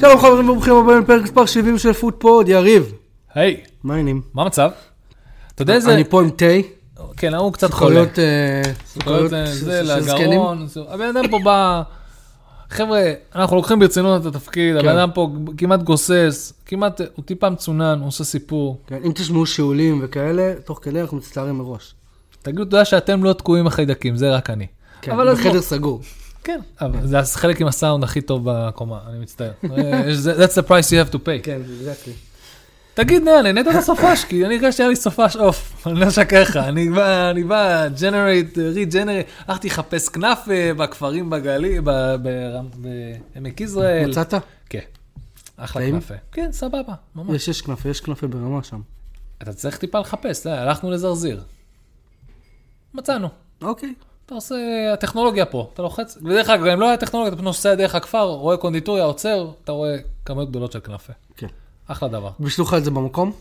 שלום חברים וברוכים הבאים לפרק מספר 70 של פודפוד, יריב. היי, מה העניינים? מה המצב? אתה יודע איזה... אני פה עם תה, כן, ההוא קצת חולה. סוכריות אה, סוכריות סוכריות אה, של- זה, של זקנים. לגרון. זה- הבן אדם פה בא... חבר'ה, אנחנו לוקחים ברצינות את התפקיד, כן. הבן אדם פה כמעט גוסס, כמעט, הוא טיפה מצונן, הוא עושה סיפור. כן, אם תשמעו שיעולים וכאלה, תוך כדי אנחנו מצטערים מראש. תגידו תודה שאתם לא תקועים עם החיידקים, זה רק אני. כן, אבל אז בחדר בוא- סגור. כן, אבל זה החלק עם הסאונד הכי טוב בקומה, אני מצטער. אה, זה- That's the price you have to pay. כן, exactly. תגיד, נא, נהנית בסופש, כי אני הרגשתי שהיה לי סופש עוף, אני לא אשקר לך, אני בא, אני בא, ג'נרייט, ריג'נרייט, הלכתי לחפש כנאפה בכפרים בגליל, ב- ברם- בעמק יזרעאל. מצאת? כן. אחלה טעים? כנאפה. כן, סבבה, ממש. יש, יש כנפה, יש כנפה ברמה שם. אתה צריך טיפה לחפש, אתה יודע, הלכנו לזרזיר. מצאנו. אוקיי. אתה עושה, הטכנולוגיה פה, אתה לוחץ, ודרך אגב, אם לא היה טכנולוגיה, אתה פשוט נוסע דרך הכפר, רואה קונדיטוריה, עוצר, אתה רואה כמויות גדולות של כנאפה. כן. אחלה דבר. בישלו לך את זה במקום?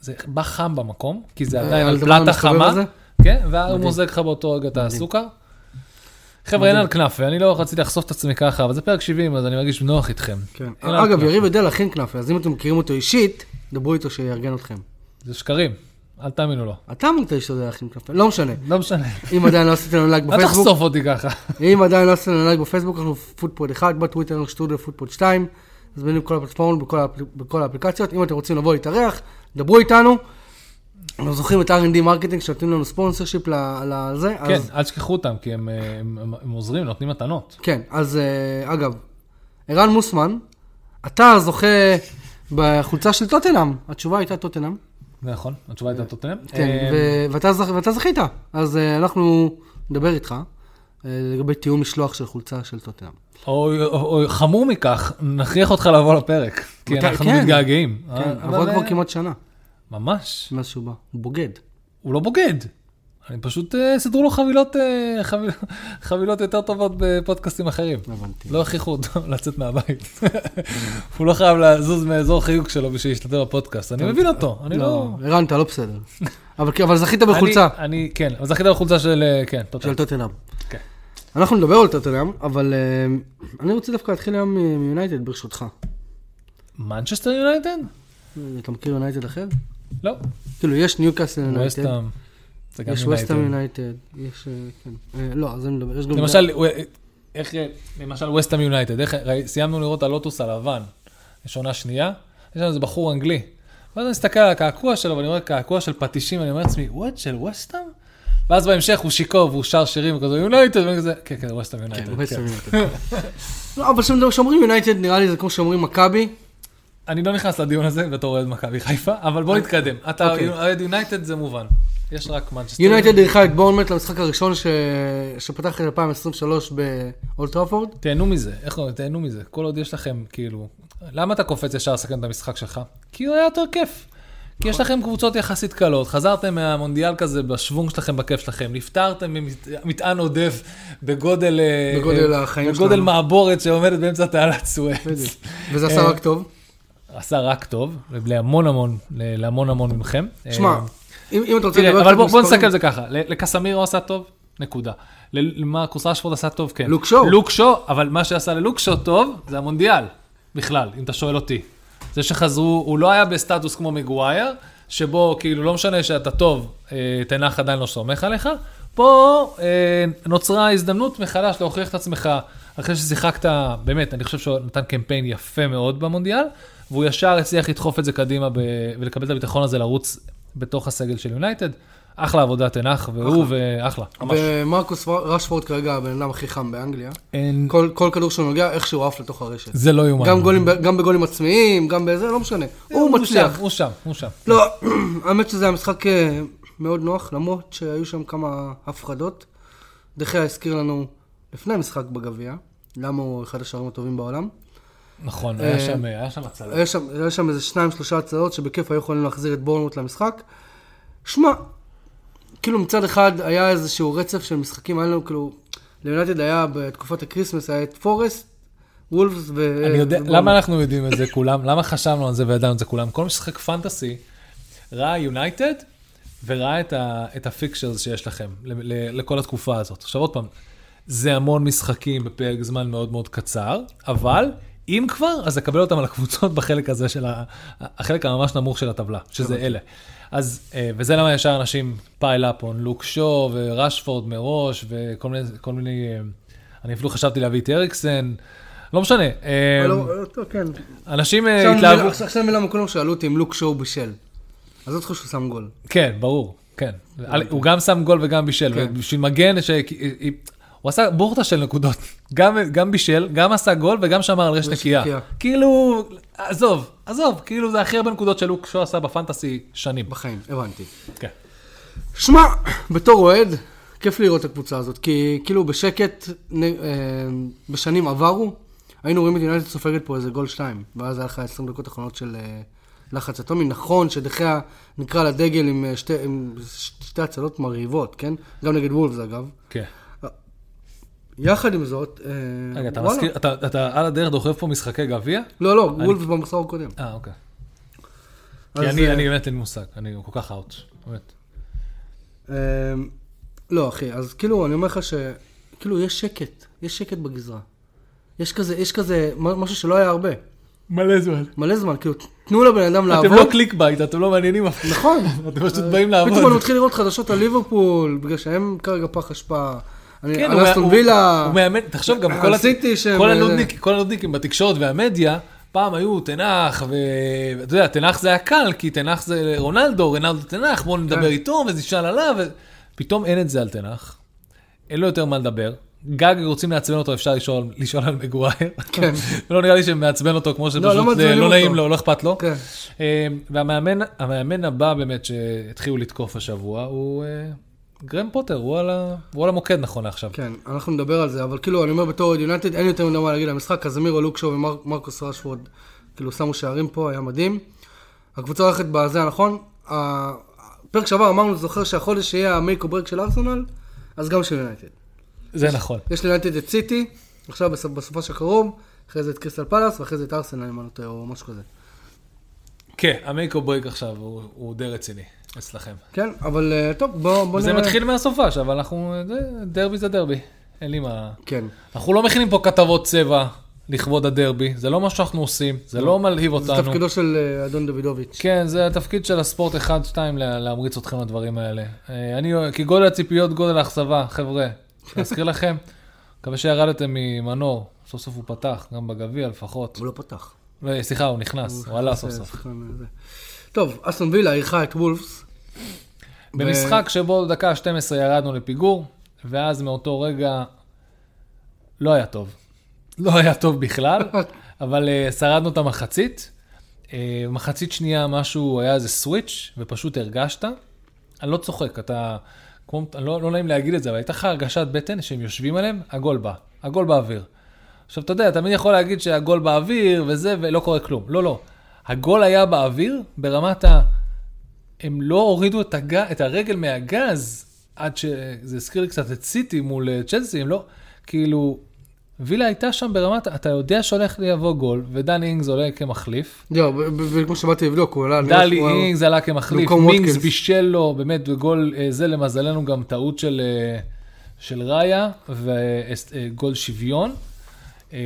זה בא חם במקום, כי זה אה, עדיין על על דבר פלטה המסתובב חמה, הזה? כן, והוא מוזג לך באותו רגע את הסוכר. חבר'ה, אין על כנאפה, אני לא רציתי לחשוף את עצמי ככה, אבל זה פרק 70, אז אני מרגיש נוח איתכם. כן. אין על אגב, כנאפה. יריב יודע להכין כנפה, אז אם אתם מכירים אותו אישית, דברו איתו שיארגן אתכם. זה שקרים, אל תאמינו לו. אתה אמרת לי שאתה יודע להכין כנפה, לא משנה. לא משנה, אם עדיין לא עשיתם לנו לייק אל בפייסבוק, תחשוף אותי ככה. אם עדיין לא עשיתם לנו לייק בפייסבוק, אנחנו פודפוד 1, בטוויטר אנחנו שטודל פודפוד 2, זמינים בכל הפלטפורמות, בכל, האפל... בכל האפליקציות. אם אתם רוצים לבוא להתארח, דברו איתנו. אנחנו זוכרים את R&D מרקטינג שנותנים לנו ספונסר שיפ לזה, כן, אז... אל תשכחו אותם, כי הם, אה, הם, הם, הם עוזרים, נותנים מתנות. כן, אז אה, אגב, ערן מוסמן, אתה זוכה בחולצה של טוטנאם, התשובה הייתה טוטנאם, זה נכון, התשובה הייתה טוטנאם. כן, אה, ו- ואתה זכ- ואתה זכית, אז אה, אנחנו נדבר איתך אה, לגבי תיאום משלוח של חולצה של טוטנאם. או, או, או חמור מכך, נכריח אותך לבוא לפרק, כי מתי- אנחנו כן. מתגעגעים. כן, אה, עברה אבל, כבר אה, כמעט שנה ממש. מאז שהוא בא, הוא בוגד. הוא לא בוגד. אני פשוט, אה, סידרו לו חבילות, אה, חביל, חבילות יותר טובות בפודקאסטים אחרים. הבנתי. לא הכריחו אותו לצאת מהבית. הוא לא חייב לזוז מאזור חיוג שלו בשביל להשתתף בפודקאסט. אני מבין אותו, אני לא... ערן, אתה לא בסדר. אבל כן, אבל זכית אני- בחולצה אני, כן, אבל זכית בחולצה של, אה, כן, טוטל. של טוטנאם. כן. אנחנו נדבר על טוטנאם, אבל אה, אני רוצה דווקא להתחיל היום מ- מיונייטד, ברשותך. מנצ'סטר יונייטד? אתה מכיר יונייטד אחר? לא. כאילו, יש ניוקאסל יונייטד, ווסטאם. זה גם יש יונייטד. ווסטהאם יונייטד, יש... אה, כן. אה, לא, אז אני מדבר, יש גם... למשל, הוא- איך, אה, למשל ווסטהאם יונייטד, איך- ראי- סיימנו לראות את הלוטוס הלבן, יש עונה שנייה, יש שם איזה בחור אנגלי. ואז אני מסתכל על הקעקוע שלו, ואני רואה קעקוע של פטישים, אני אומר לעצמי, וואט, של ווסטהאם? ואז בהמשך הוא שיכור והוא שר שירים וכזה, יונייטד, ואני כזה, כן, כן, ווסטהאם כן, יונייטד. ווסטהאם כן." יונייטד. לא, אבל כשאומרים יונייטד, נראה לי זה כמו שאומרים מכבי. אני לא נכנס לדיון הזה בתור אוהד מכבי חיפה, אבל בוא נתקדם. אתה אוקיי. אוהד יונייטד זה מובן, יש רק מנצ'סטר. יונייטד אירחה את בורנמט למשחק הראשון ש- שפתח את 2023 באולט טראפורד. תהנו מזה, איך לא, תהנו מזה. כל עוד יש לכם, כאילו, למה אתה קופץ ישר לסכם את המשחק שלך? כי הוא היה יותר כיף. כי נכון. יש לכם קבוצות יחסית קלות, חזרתם מהמונדיאל כזה בשוונג שלכם, בכיף שלכם, נפטרתם ממטען עודף בגודל... אה, בגודל אה, החיים בגודל שלנו. מעבורת שעומדת באמצע תעלת סואץ. וזה עשה אה, רק טוב. עשה רק טוב, להמון המון, להמון המון מכם. שמע, אה, אם אם אתה רוצה תראה, לדבר אבל קצת בוא בוא מספרים- נסכם את זה ככה, ל- לקסמירו עשה טוב, נקודה. ל- למרקוס רשפורד עשה טוב, כן. לוק שואו. לוק שואו, אבל מה שעשה ללוק שואו טוב, זה המונדיאל, בכלל, אם אתה שואל אותי. זה שחזרו, הוא לא היה בסטטוס כמו מגווייר, שבו כאילו לא משנה שאתה טוב, אה, תנח עדיין לא סומך עליך. פה אה, נוצרה הזדמנות מחדש להוכיח את עצמך, אחרי ששיחקת, באמת, אני חושב שהוא נתן קמפיין יפה מאוד במונדיאל, והוא ישר הצליח לדחוף את זה קדימה ב- ולקבל את הביטחון הזה לרוץ בתוך הסגל של יונייטד. אחלה עבודה תנח, והוא ואחלה, ממש. ומרקוס רשפורד כרגע הבן אדם הכי חם באנגליה. אין- כל כל כדור שהוא נוגע, איך שהוא עף לתוך הרשת. זה לא יאומן. גם גולים ב- גם בגולים עצמיים, גם בזה, לא משנה. הוא מצליח. שם, הוא שם, הוא שם. לא, האמת שזה היה משחק אה, מאוד נוח, למרות שהיו שם כמה הפחדות. דחיה הזכיר לנו לפני המשחק בגביע, למה הוא אחד השערים הטובים בעולם. נכון, אה, היה שם, היה שם הצלה. היה שם, היה שם איזה שניים, שלושה הצעות שבכיף היו יכולים להחזיר את בורנמוט למשחק. שמע, כאילו מצד אחד היה איזשהו רצף של משחקים, היה לנו כאילו, ליונטד היה בתקופת הקריסמס, היה את פורסט, וולפס ו... אה, אני יודע, ובורנמוט. למה אנחנו יודעים את זה כולם? למה חשבנו על זה וידענו את זה כולם? כל משחק פנטסי ראה יונייטד וראה את ה- את הפיקשרס שיש לכם ל- ל- לכל התקופה הזאת. עכשיו עוד פעם, זה המון משחקים בפרק זמן מאוד מאוד קצר, אבל אם כבר, אז לקבל אותם על הקבוצות בחלק הזה של ה... החלק הממש נמוך של הטבלה, שזה אלה. אז, אה, וזה למה ישר אנשים פייל אפ און לוק שו וראשפורד מראש וכל מיני, כל מיני, אה, אני אפילו חשבתי להביא את הריקסן, לא משנה. אה, לא, לא, לא, כן. אנשים אה, עכשיו התלהבו, מבין- עכשיו מבין למה כולם שאלו אותי אם לוק שואו בשל. אז לא זוכר שהוא שם גול. כן, ברור, כן. על- הוא גם שם גול וגם בישל, כן. בשביל מגן, ש... אה, הוא עשה בורטה של נקודות, גם, גם בישל, גם עשה גול וגם שמר על רשת רשת נקייה. נקייה. כאילו, עזוב, עזוב, כאילו זה הכי הרבה נקודות שלוק שו עשה בפנטסי שנים. בחיים, הבנתי. כן. שמע, בתור אוהד, כיף לראות את הקבוצה הזאת, כי כאילו בשקט, נ- אה, בשנים עברו, היינו רואים את יונייטד סופגת פה איזה גול שתיים, ואז היה לך 20 דקות אחרונות של אה, לחץ אטומי. נכון שדחיה נקרא לדגל עם אה, שתי- עם ש- שתי הצלות מרהיבות, כן? גם נגד וולפס אגב. כן. יחד עם זאת, אה, רגע, אתה וואלה. מזכיר, אתה, אתה על הדרך דוחף פה משחקי גביע? לא, לא, וולפס במחזור הקודם. אה, אוקיי. אז, כי אני, אה, אני באמת אין לי מושג, אני כל כך אאוט, באמת. אמ, לא, אחי, אז כאילו, אני אומר לך ש... כאילו, יש שקט, יש שקט בגזרה. יש כזה, יש כזה, מ- משהו שלא היה הרבה. מלא זמן. מלא זמן, כאילו, תנו לבן אדם לעבוד. אתם לא קליק בייט, אתם לא מעניינים אף אחד. נכון. אתם פשוט באים לעבוד. פתאום אני מתחיל לראות חדשות על ליברפול, בגלל שהם כרגע פח אשפה. אני, כן, על הוא- אסטון הוא- וילה. הוא מאמן, תחשוב, גם על כל הת- סיטי שהם- כל הנודניק- כל הנודניקים בתקשורת והמדיה, פעם היו תנח, ואתה יודע, תנח זה היה קל, כי תנח זה רונלדו, רונלדו תנח, בואו נדבר כן. איתו, ונשאל עליו, ו- פתאום אין את זה על תנח, אין לו יותר מה לדבר. גג רוצים לעצבן אותו, אפשר לשאול לשאול על מגווייר. כן. לא נראה לי שמעצבן אותו כמו שפשוט לא אה, מעצבנים לא אותו. נעים לו, לא אכפת לו. כן. אה, והמאמן המאמן הבא באמת שהתחילו לתקוף השבוע הוא אה, גרם פוטר, הוא על ה- הוא על המוקד נכון לעכשיו. כן, אנחנו נדבר על זה, אבל כאילו, אני אומר בתור אוהד יונייטד, אין יותר מדי מה להגיד על המשחק, קזמירו, לוקשו ומרקוס רשפורד, כאילו, שמו שערים פה, היה מדהים. הקבוצה הולכת בזה הנכון. ה- הפרק שעבר אמרנו, זוכר שהחודש יהיה המייק או ברק של ארסונל, אז גם של יונייטד. זה נכון. יש ליונייטד את סיטי, עכשיו בסופ- בסופה של קרוב, אחרי זה את קריסטל פלאס, ואחרי זה את ארסנל, אם אני לא טועה, או משהו כזה. כן, המייק או ברייק עכשיו הוא הוא די רציני אצלכם. כן, אבל אה, טוב, בואו בוא זה מתחיל מהסופש, אבל אנחנו, זה- דרבי זה דרבי, אין לי מה... כן. אנחנו לא מכינים פה כתבות צבע לכבוד הדרבי, זה לא מה שאנחנו עושים, זה לא מלהיב זה אותנו. תפקידו של אה, אדון דוידוביץ'. כן, זה התפקיד של הספורט 1-2 לה- להמריץ אתכם לדברים האלה. אה, אני, כי גודל הציפיות, גודל האכזבה, חבר'ה, להזכיר לכם, מקווה שירדתם ממנור, סוף סוף הוא פתח, גם בגביע לפחות. הוא לא פתח. לא, סליחה, הוא נכנס, הוא עלה סוף זה סוף. שחקן, אה, זה. טוב, אסטון וילה אירחה את וולפס. במשחק שבו דקה 12 ירדנו לפיגור, ואז מאותו רגע לא היה טוב. לא היה טוב בכלל, אבל אה, שרדנו את המחצית. אה, מחצית שנייה משהו, היה איזה סוויץ', ופשוט הרגשת. אני לא צוחק, אתה... כמו, אני לא, לא נעים להגיד את זה, אבל הייתה לך הרגשת בטן שהם יושבים עליהם, הגול בא, הגול באוויר. עכשיו, אתה יודע, תמיד יכול להגיד שהגול באוויר וזה, ולא קורה כלום. לא, לא. הגול היה באוויר ברמת ה... הם לא הורידו את, הג... את הרגל מהגז עד ש... זה הזכיר לי קצת את סיטי מול אה, צ'לסי, הם לא... כאילו, וילה הייתה שם ברמת, אתה יודע שהולך לבוא גול, ודני אינגס עולה כמחליף. לא, ו- ו- וכמו שבאתי לבדוק, הוא עלה... דלי הוא- אינגס עלה כמחליף, לא במקום מינגס ווטקינס. בישל לו, באמת, בגול אה, זה למזלנו גם טעות של, אה, של ראיה וגול שוויון. אה,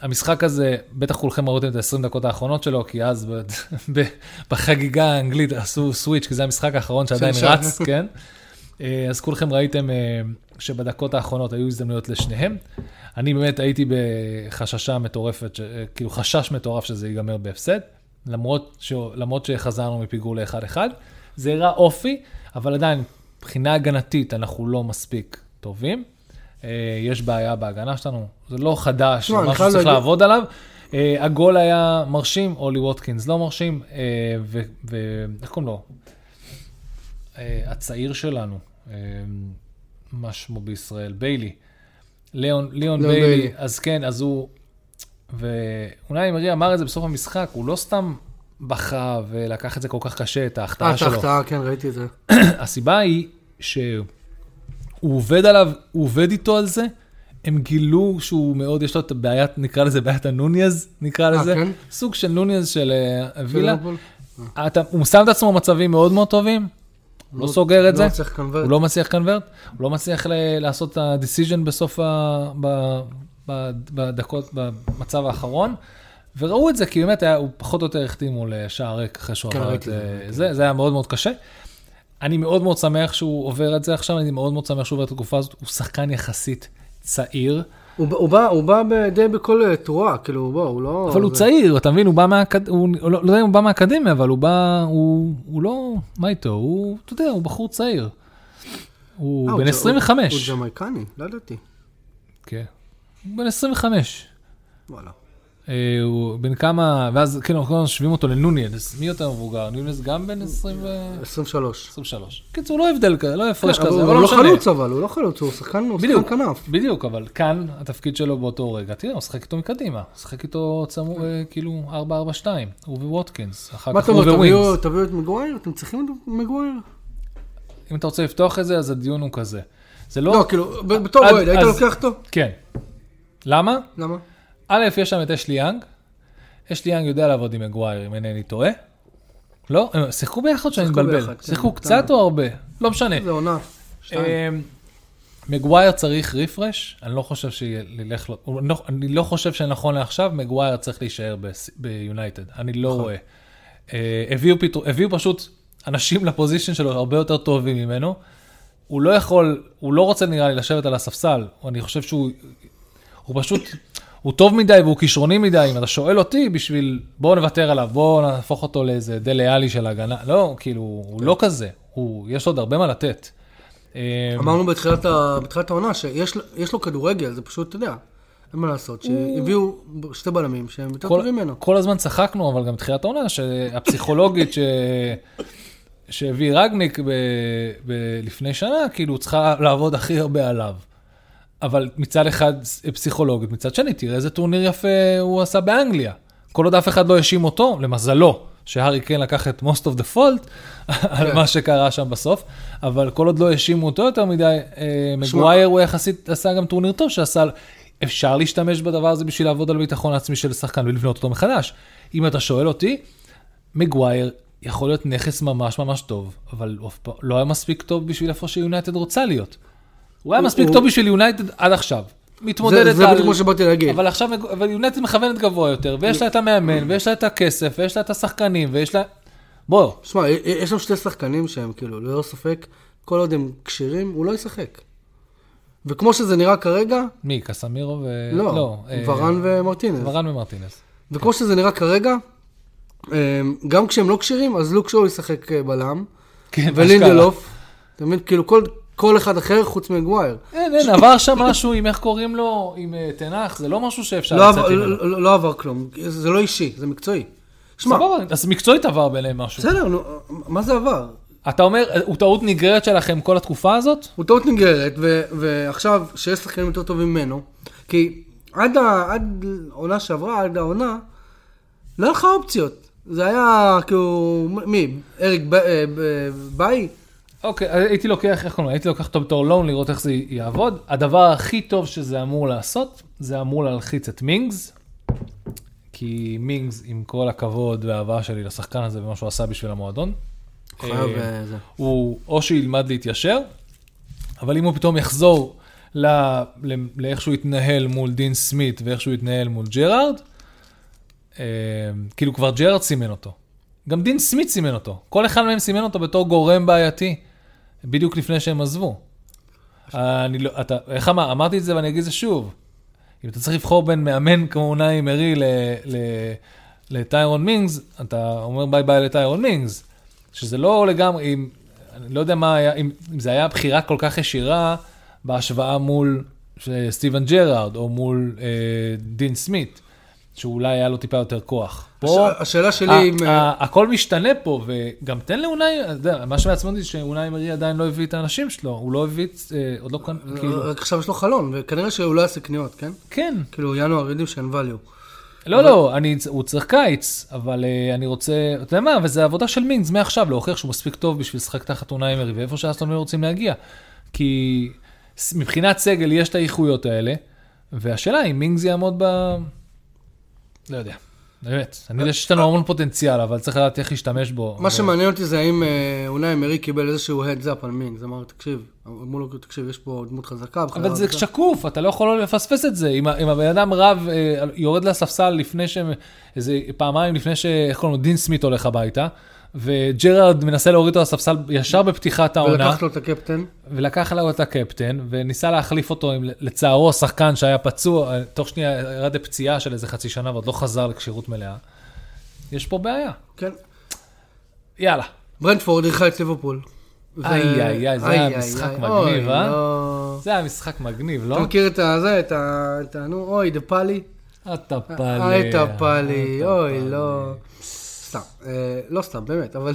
המשחק הזה, בטח כולכם ראיתם את ה-20 דקות האחרונות שלו, כי אז ב- ב- בחגיגה האנגלית עשו סוויץ', כי זה המשחק האחרון שעדיין שנשאר. רץ, כן? אה, אז כולכם ראיתם אה, שבדקות האחרונות היו הזדמנויות לשניהם. אני באמת הייתי בחששה מטורפת, ש- אה, כאילו חשש מטורף שזה ייגמר בהפסד, למרות, ש... למרות שחזרנו מפיגור ל-1-1. זה הראה אופי, אבל עדיין, מבחינה הגנתית אנחנו לא מספיק טובים. אה, יש בעיה בהגנה שלנו, זה לא חדש, זה תשמע, אני משהו חייב שצריך להגיד- לעבוד עליו. אה, הגול היה מרשים, אולי ווטקינס לא מרשים, אה, ו... ו- איך קוראים לו? אה, הצעיר שלנו, אה, מה שמו בישראל, ביילי. ליאון, ליאון ליאון ביילי, ביילי. אז כן, אז הוא... ואולי אמרי אמר את זה בסוף המשחק, הוא לא סתם בכה ולקח את זה כל כך קשה, את אה, ההחטאה את שלו. ההחטאה, כן, ראיתי את זה. הסיבה היא שהוא עובד עליו, הוא עובד איתו על זה. הם גילו שהוא מאוד, יש לו את הבעיית, נקרא לזה בעיית הנוניאז, נקרא אה, לזה. כן? סוג של נוניאז של אה, וילה. ליברפול. אתה, הוא שם את עצמו במצבים מאוד מאוד טובים, הוא לא סוגר את זה, לא צריך קנברט. הוא לא מצליח קנברט, הוא לא מצליח ל- לעשות את ה-decision בסוף ה... ב... בד- בדקות, במצב האחרון, וראו את זה, כי באמת היה, הוא פחות או יותר החטיא מול אה, שער ריק אחרי שהוא כן, עבר את ראיתי את אה, זה, זה היה מאוד מאוד קשה. אני מאוד מאוד שמח שהוא עובר את זה עכשיו, אני מאוד מאוד שמח שהוא עובר את התקופה הזאת, הוא שחקן יחסית צעיר, הוא ב- הוא בא- הוא בא ב- די בכל אה, תרועה, כאילו, בוא, הוא לא... אבל הוא זה- צעיר, אתה מבין, הוא בא מהאקדמיה, הוא לא לא יודע אם הוא בא מהאקדמיה, אבל הוא בא, הוא הוא לא, מה איתו, הוא, אתה יודע, הוא בחור צעיר. אה, הוא בן ג'- 25. הוא ג'מייקני, לא ידעתי. כן. הוא בן 25. וואלה. אה, הוא בן כמה, ואז כאילו, כל הזמן משווים אותו לנוניאנס, מי יותר מבוגר? נוניאנס גם בן 20 ו- 23. 23. קיצור, לא הבדל כזה, לא הפרש אבל כזה, הוא אבל לא לא משנה. חלוץ אבל, הוא לא חלוץ, הוא שחקן הוא שחקן בדיוק, כנף. בדיוק, אבל כאן התפקיד שלו באותו רגע, תראה, הוא שחק איתו מקדימה, הוא שחק איתו צמור, אה, כאילו 4-4-2, הוא וווטקינס, אחר מה כך אתה הוא אומר, תביאו- וווינס. תביאו את מגווייר? אתם צריכים את מגווייר? אם אתה רוצה לפתוח את זה, אז הדיון הוא כזה. זה לא, לא, כאילו, ב- בתור אז- אוהד, היית אז- לוקח אותו? כן. למה? למה? א', יש שם את אשלי יאנג, אשלי יאנג יודע לעבוד עם מגווייר, אם אינני טועה. לא, הם שיחקו ביחד או שאני שיחקו מבלבל? ביחד, כן, שיחקו כן. קצת או הרבה? לא משנה. זה עונה. שתיים. אמ, מגווייר צריך רפרש, אני לא חושב שילך לו, הוא לא- אני לא חושב שנכון לעכשיו, מגווייר צריך להישאר בס- ביונייטד, אני לא נכון. רואה. אה, הביאו פתאום- הביאו פשוט אנשים לפוזיישן שלו הרבה יותר טובים ממנו. הוא לא יכול, הוא לא רוצה נראה לי לשבת על הספסל, אני חושב שהוא, הוא פשוט, הוא טוב מדי והוא כישרוני מדי, אם אתה שואל אותי, בשביל, בואו נוותר עליו, בואו נהפוך אותו לאיזה דלה עלי של הגנה, לא, כאילו, הוא לא כזה, הוא, יש לו עוד הרבה מה לתת. אה, אמרנו בתחילת ה- בתחילת העונה שיש לו- יש לו כדורגל, זה פשוט, אתה יודע, אין מה לעשות. שהביאו שתי בלמים שהם יותר כל, טובים ממנו. כל הזמן צחקנו, אבל גם תחילת העונה, שהפסיכולוגית ש... שהביא רגניק ב... ב... לפני שנה, כאילו צריכה לעבוד הכי הרבה עליו. אבל מצד אחד פסיכולוגית, מצד שני, תראה איזה טורניר יפה הוא עשה באנגליה. כל עוד אף אחד לא האשים אותו, למזלו, שהארי קיין לקח את most of the fault על מה שקרה שם בסוף, אבל כל עוד לא האשימו אותו יותר מדי, אה, שמע. מגווייר הוא יחסית עשה גם טורניר טוב שעשה, אפשר להשתמש בדבר הזה בשביל לעבוד על ביטחון העצמי של שחקן ולבנות אותו מחדש. אם אתה שואל אותי, מגווייר יכול להיות נכס ממש ממש טוב, אבל הוא אף פעם לא היה מספיק טוב בשביל איפה שיונייטד רוצה להיות. הוא היה הוא- מספיק הוא- טוב בשביל יונייטד עד עכשיו. מתמודדת זה- על... זה בדיוק מה שבאתי להגיד. אבל עכשיו, מג- אבל יונייטד מכוונת גבוה יותר, ויש לה את המאמן, ויש לה את הכסף, ויש לה את השחקנים, ויש לה... בוא, שמע, י- יש שם שתי שחקנים שהם כאילו, ללא ספק, כל עוד הם כשירים, הוא לא ישחק. וכמו שזה נראה כרגע, מי? קסמירו ו... לא, אה, ורן ומרטינז. ורן ומרטינס. וכמו שזה נראה כרגע, אמ, גם כשהם לא כשירים, אז לוק שואו ישחק אה, בלם, כן, ולינדלוף, אתה מבין? כאילו כל- כל אחד אחר חוץ מגווייר. אין, אין, עבר שם משהו עם איך קוראים לו, עם אה, תנח, זה לא משהו שאפשר לא לצאת עבר- ממנו. לא- לא עבר כלום, זה לא אישי, זה מקצועי. שמע, סבבה, אז מקצועית עבר ביניהם משהו. בסדר, נו, מה זה עבר? אתה אומר, אה, הוא טעות נגררת שלכם כל התקופה הזאת? הוא טעות נגררת, ו- ועכשיו, שיש שחקנים יותר טובים ממנו, כי עד העונה שעברה, עד העונה, לא היה לך אופציות. זה היה כאילו, מ- מי? אריק ב- אה, ב- ביי? אוקיי, אז הייתי לוקח, איך קוראים לו? הייתי לוקח אותו בתור לון לראות איך זה יעבוד. הדבר הכי טוב שזה אמור לעשות, זה אמור להלחיץ את מינגס, כי מינגס, עם כל הכבוד והאהבה שלי לשחקן הזה ומה שהוא עשה בשביל המועדון, חייב אה, אה, זה. הוא או שילמד להתיישר, אבל אם הוא פתאום יחזור ל... ל... לאיך שהוא התנהל מול דין סמית ואיך שהוא התנהל מול ג'רארד, אה, כאילו כבר ג'רארד סימן אותו. גם דין סמית סימן אותו. כל אחד מהם סימן אותו בתור גורם בעייתי, בדיוק לפני שהם עזבו. אני לא, אתה, איך אמר, אמרתי את זה ואני אגיד את זה שוב. אם אתה צריך לבחור בין מאמן כמו נאי מרי ל- ל- לטיירון מינגס, אתה אומר ביי ביי לטיירון מינגס, שזה לא לגמרי, אם, אני לא יודע מה היה, אם, אם זה היה בחירה כל כך ישירה בהשוואה מול אה, סטיבן ג'רארד או מול אה, דין סמית, שאולי היה לו טיפה יותר כוח. פה- הש- השאלה שלי ה- אם... אה, ה- הכל משתנה פה, וגם תן לאונאי, אתה יודע, מה שמעצבן אותי זה שאונאי אמרי עדיין לא הביא את האנשים שלו, הוא לא הביא, את- אה, עוד לא כאן, כאילו, רק עכשיו יש לו חלון, וכנראה שהוא לא יעשה קניות, כן? כן, כאילו, ינואר יודעים שאין value. לא, לא, אני- הוא צריך קיץ, אבל אה, אני רוצה, אתה יודע מה, וזה עבודה של מינגס מעכשיו, להוכיח שהוא מספיק טוב בשביל לשחק תחת אונאי אמרי, ואיפה שאסטון לא רוצים להגיע. כי ס- מבחינת סגל יש את האיכויות האלה, והשאלה אם מינגס יעמוד ב... לא יודע. באמת. אני יודע שיש לנו המון פוטנציאל, אבל צריך לדעת איך להשתמש בו. מה שמעניין אותי זה האם אה, אונאי אמרי קיבל איזשהו heads up על מינגס, אמר לו, תקשיב, אמרו לו, תקשיב, יש פה דמות חזקה. בחדר אבל זה ההגנה." שקוף, אתה לא יכול לא לפספס את זה. אם ה- אם הבן אדם רב, אה, יורד לספסל לפני ש... איזה פעמיים לפני ש... איך קוראים לו? דין סמית הולך הביתה, וג'רארד מנסה להוריד אותו לספסל ישר בפתיחת העונה, ולקח לו את הקפטן. ולקח לו את הקפטן, וניסה להחליף אותו עם לצערו שחקן שהיה פצוע, אה, תוך שנייה ירד לפציעה של איזה חצי שנה ועוד לא חזר לכשירות מלאה. יש פה בעיה. כן. יאללה. ברנדפורד אירחה את ליברפול. ו- איי, איי, איי, זה היה איי, משחק איי, מגניב, אוי, אה? לא. זה היה משחק מגניב, לא? אתה מכיר את הזה, את ה... את ה- נו, אוי, דה פאלי. אתה פאלי. אה, היית פאלי, אוי, לא. סתם, אה, לא סתם, באמת, אבל...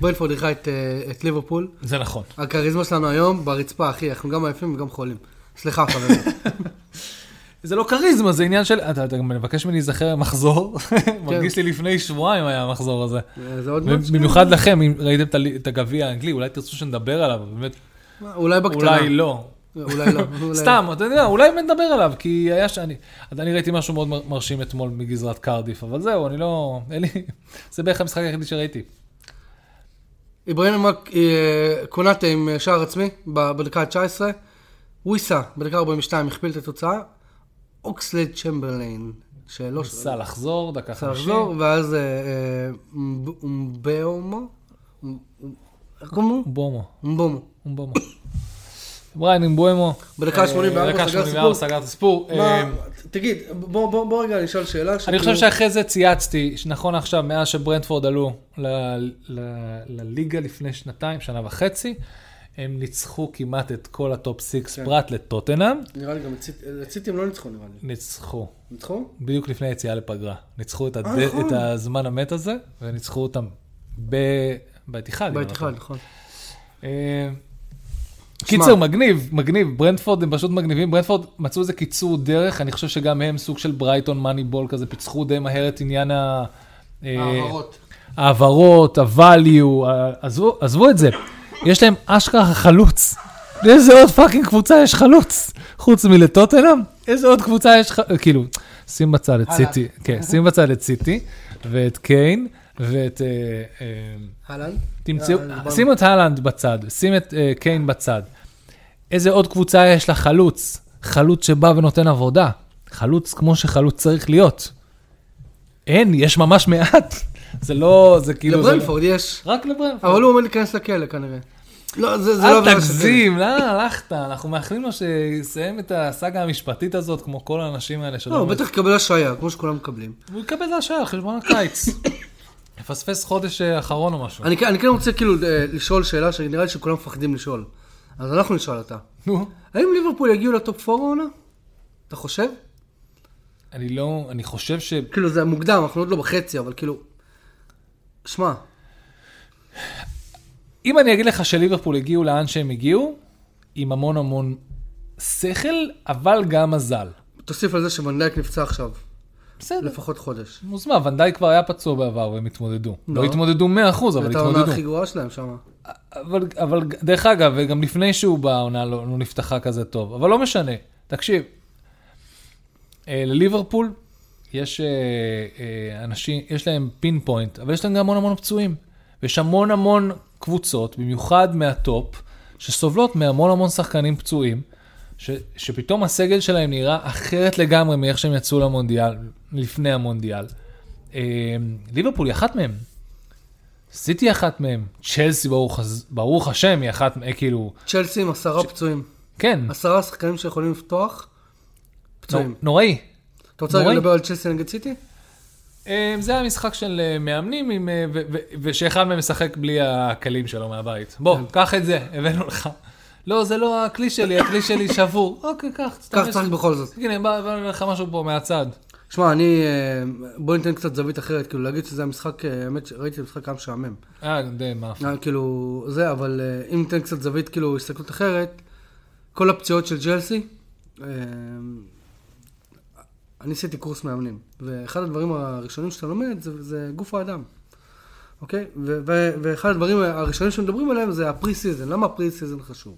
ברנפורד אירחה את, אה, את ליברפול. זה נכון. הכריזמה שלנו היום ברצפה, אחי, אנחנו גם עייפים וגם חולים. סליחה, חברים. זה לא כריזמה, זה עניין של... אתה אתה גם מבקש ממני להיזכר מחזור, מרגיש לי לפני שבועיים היה המחזור הזה. אה, זה עוד משהו? במיוחד לכם, אם ראיתם את ה- את הגביע האנגלי, אולי תרצו שנדבר עליו, באמת, אולי בקטנה. אולי לא. אולי לא. אולי- סתם, אתה יודע, אולי נדבר עליו, כי היה ש... אני- אני ראיתי משהו מאוד מר- מרשים אתמול מגזרת קרדיף, אבל זהו, אני לא... אין לי... זה בערך המשחק היחידי שראיתי. איברהים קונאטה אה, עם שער עצמי ב- בדקה ה-19, וויסה בדקה 42 הכפיל את התוצאה, אוקסלד צ'מברליין, שלא ניסה לחזור, דקה ניסה חמישית. לחזור, ואז אה, אה, מב- אומבאומו, אומ- אומ- איך קוראים לו? בומו, אומבומו. בומו. בריין עם בומו. בדקה אה, ה-84 דקה סגר 84 סיפור. סגר את הסיפור. מה- אה, תגיד, בוא- בוא בוא רגע נשאל שאלה. אני שכאילו- חושב שאחרי זה צייצתי, שנכון עכשיו, מאז שברנדפורד עלו ל- ל- לליגה לפני שנתיים, שנה וחצי, הם ניצחו כמעט את כל הטופ כן. 6 פרט לטוטנאם, נראה לי גם את סיט- את סיטי הם לא ניצחו נראה לי. ניצחו, ניצחו? בדיוק לפני היציאה לפגרה. ניצחו את, הד... אה, נכון. את הזמן המת הזה, וניצחו אותם ב... באתיחד. אם אני לא בית אחד, טועה. נכון. אה, קיצר, מגניב, מגניב, ברנדפורד הם פשוט מגניבים, ברנדפורד מצאו איזה קיצור דרך, אני חושב שגם הם סוג של ברייטון מאני בול כזה, פיצחו די מהר את עניין ה... אה, העברות. העברות, ה-value, ה- עזבו, עזבו את זה. יש להם אשכרה חלוץ. לאיזה עוד פאקינג קבוצה יש חלוץ? חוץ מלטוטנאם? איזה עוד קבוצה יש חלוץ? כאילו, שים בצד את הלאה. סיטי, כן, שים בצד את סיטי, ואת קיין, ואת... אה, אה, אהלן? תמצאו, אה, דיברנו. שים את הלנד בצד, שים את אה, קיין בצד. איזה עוד קבוצה יש לה חלוץ? חלוץ שבא ונותן עבודה. חלוץ כמו שחלוץ צריך להיות. אין, יש ממש מעט. זה לא, זה כאילו... זה לא- לברנפורד יש. רק לברנפורד. אבל הוא עומד להיכנס לכלא כנראה. לא, זה, זה לא אל עבירה של תגזים, לאן הלכת? אנחנו מאחלים לו שיסיים את הסאגה המשפטית הזאת, כמו כל האנשים האלה כלא. שלא... לא, הוא בטח יקבל השעיה, כמו שכולם מקבלים. הוא יקבל את השעה על חשבון הקיץ. יפספס חודש אה, אחרון או משהו. אני, כן- אני כן רוצה כאילו אה, לשאול שאלה שנראה לי שכולם מפחדים לשאול. אז אנחנו נשאל אותה. נו. האם ליברפול יגיעו לטופ 4 העונה? אתה חושב? אני לא, אני חושב ש... כאילו זה מוקדם, אנחנו עוד לא בחצי, אבל כאילו... שמע, אם אני אגיד לך שליברפול הגיעו לאן שהם הגיעו, עם המון המון שכל, אבל גם מזל. תוסיף על זה שוונדייק נפצע עכשיו, בסדר. לפחות חודש. מוזמן, ונדאי כבר היה פצוע בעבר והם התמודדו. לא לא. התמודדו 100%, אבל את העונה התמודדו. הכי גרועה שלהם שם. אבל, אבל דרך אגב, וגם לפני שהוא בא, העונה לא, לא נפתחה כזה טוב, אבל לא משנה. תקשיב, אה, לליברפול יש אה, אה, אנשים, יש להם פין פוינט, אבל יש להם גם המון המון פצועים. ויש המון המון קבוצות, במיוחד מהטופ, שסובלות מהמון המון שחקנים פצועים, ש, שפתאום הסגל שלהם נראה אחרת לגמרי מאיך שהם יצאו למונדיאל, לפני המונדיאל. אה, ליברפול היא אחת מהם. סיטי היא אחת מהם, צ'לסי ברוך, הז- ברוך השם היא אחת מהם, כאילו, צ'לסי עם עשרה פצועים. כן, עשרה שחקנים שיכולים לפתוח, פצועים. נו- נוראי. אתה רוצה רגע נוראי. לדבר על צ'לסי נגד סיטי? אה, זה היה משחק של אה, מאמנים, עם, אה, ו- ו- ושאחד מהם משחק בלי הכלים שלו מהבית. בוא, קח את זה, הבאנו לך. לא, זה לא הכלי שלי, הכלי שלי שבור. אוקיי, קח, כך תשתמש. צריך בכל זאת. הנה, בא בא לך משהו פה מהצד. שמע, אני... אה, בוא ניתן קצת זווית אחרת, כאילו להגיד שזה המשחק, אה, האמת שראיתי את המשחק היה משעמם. אה, די מאפן. היה כאילו, זה, אבל אה, אם ניתן קצת זווית, כאילו, הסתכלות אחרת, כל הפציעות של ג'לסי, אה, אני עשיתי קורס מאמנים, ואחד הדברים הראשונים שאתה לומד זה, זה גוף האדם, אוקיי? ו- ו- ואחד הדברים הראשונים שמדברים עליהם זה הפרי סיזן, למה הפרי סיזן חשוב?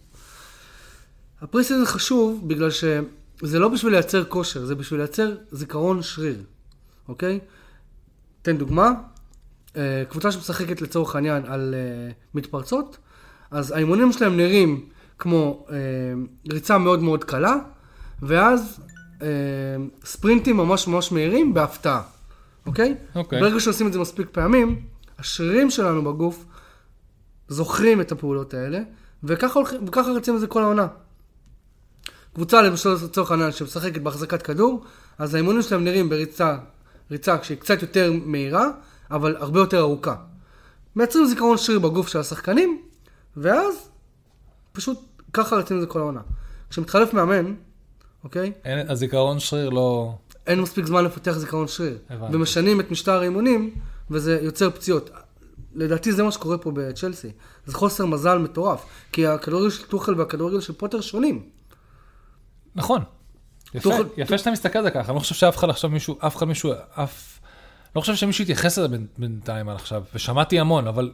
הפרי סיזן חשוב בגלל שזה לא בשביל לייצר כושר, זה בשביל לייצר זיכרון שריר. אוקיי? אתן דוגמה, אה, קבוצה שמשחקת לצורך העניין על אה, מתפרצות, אז האימונים שלהם נראים כמו אה, ריצה מאוד מאוד קלה, ואז אה, ספרינטים ממש ממש מהירים בהפתעה, אוקיי? אוקיי. ברגע שעושים את זה מספיק פעמים, השרירים שלנו בגוף זוכרים את הפעולות האלה, וככה, הולכים, וככה רצים את זה כל העונה. קבוצה למשל לצורך העניין שמשחקת בהחזקת כדור, אז האימונים שלהם נראים בריצה, ריצה שהיא קצת יותר מהירה, אבל הרבה יותר ארוכה. מייצרים זיכרון שריר בגוף של השחקנים, ואז פשוט ככה רצים את זה כל העונה. כשמתחלף מאמן, אוקיי? אין- הזיכרון שריר לא... אין מספיק זמן לפתח זיכרון שריר. הבנתי. ומשנים את משטר האימונים, וזה יוצר פציעות. לדעתי זה מה שקורה פה בצ'לסי. זה חוסר מזל מטורף. כי הכדורגל של טוחל והכדורגל של פוטר שונים. נכון. יפה, תוכל- יפה שאתה מסתכל על זה ככה, אני לא חושב שאף אחד עכשיו מישהו, אף אחד מישהו, אף... לא חושב שמישהו התייחס לזה בין- בינתיים עד עכשיו, ושמעתי המון, אבל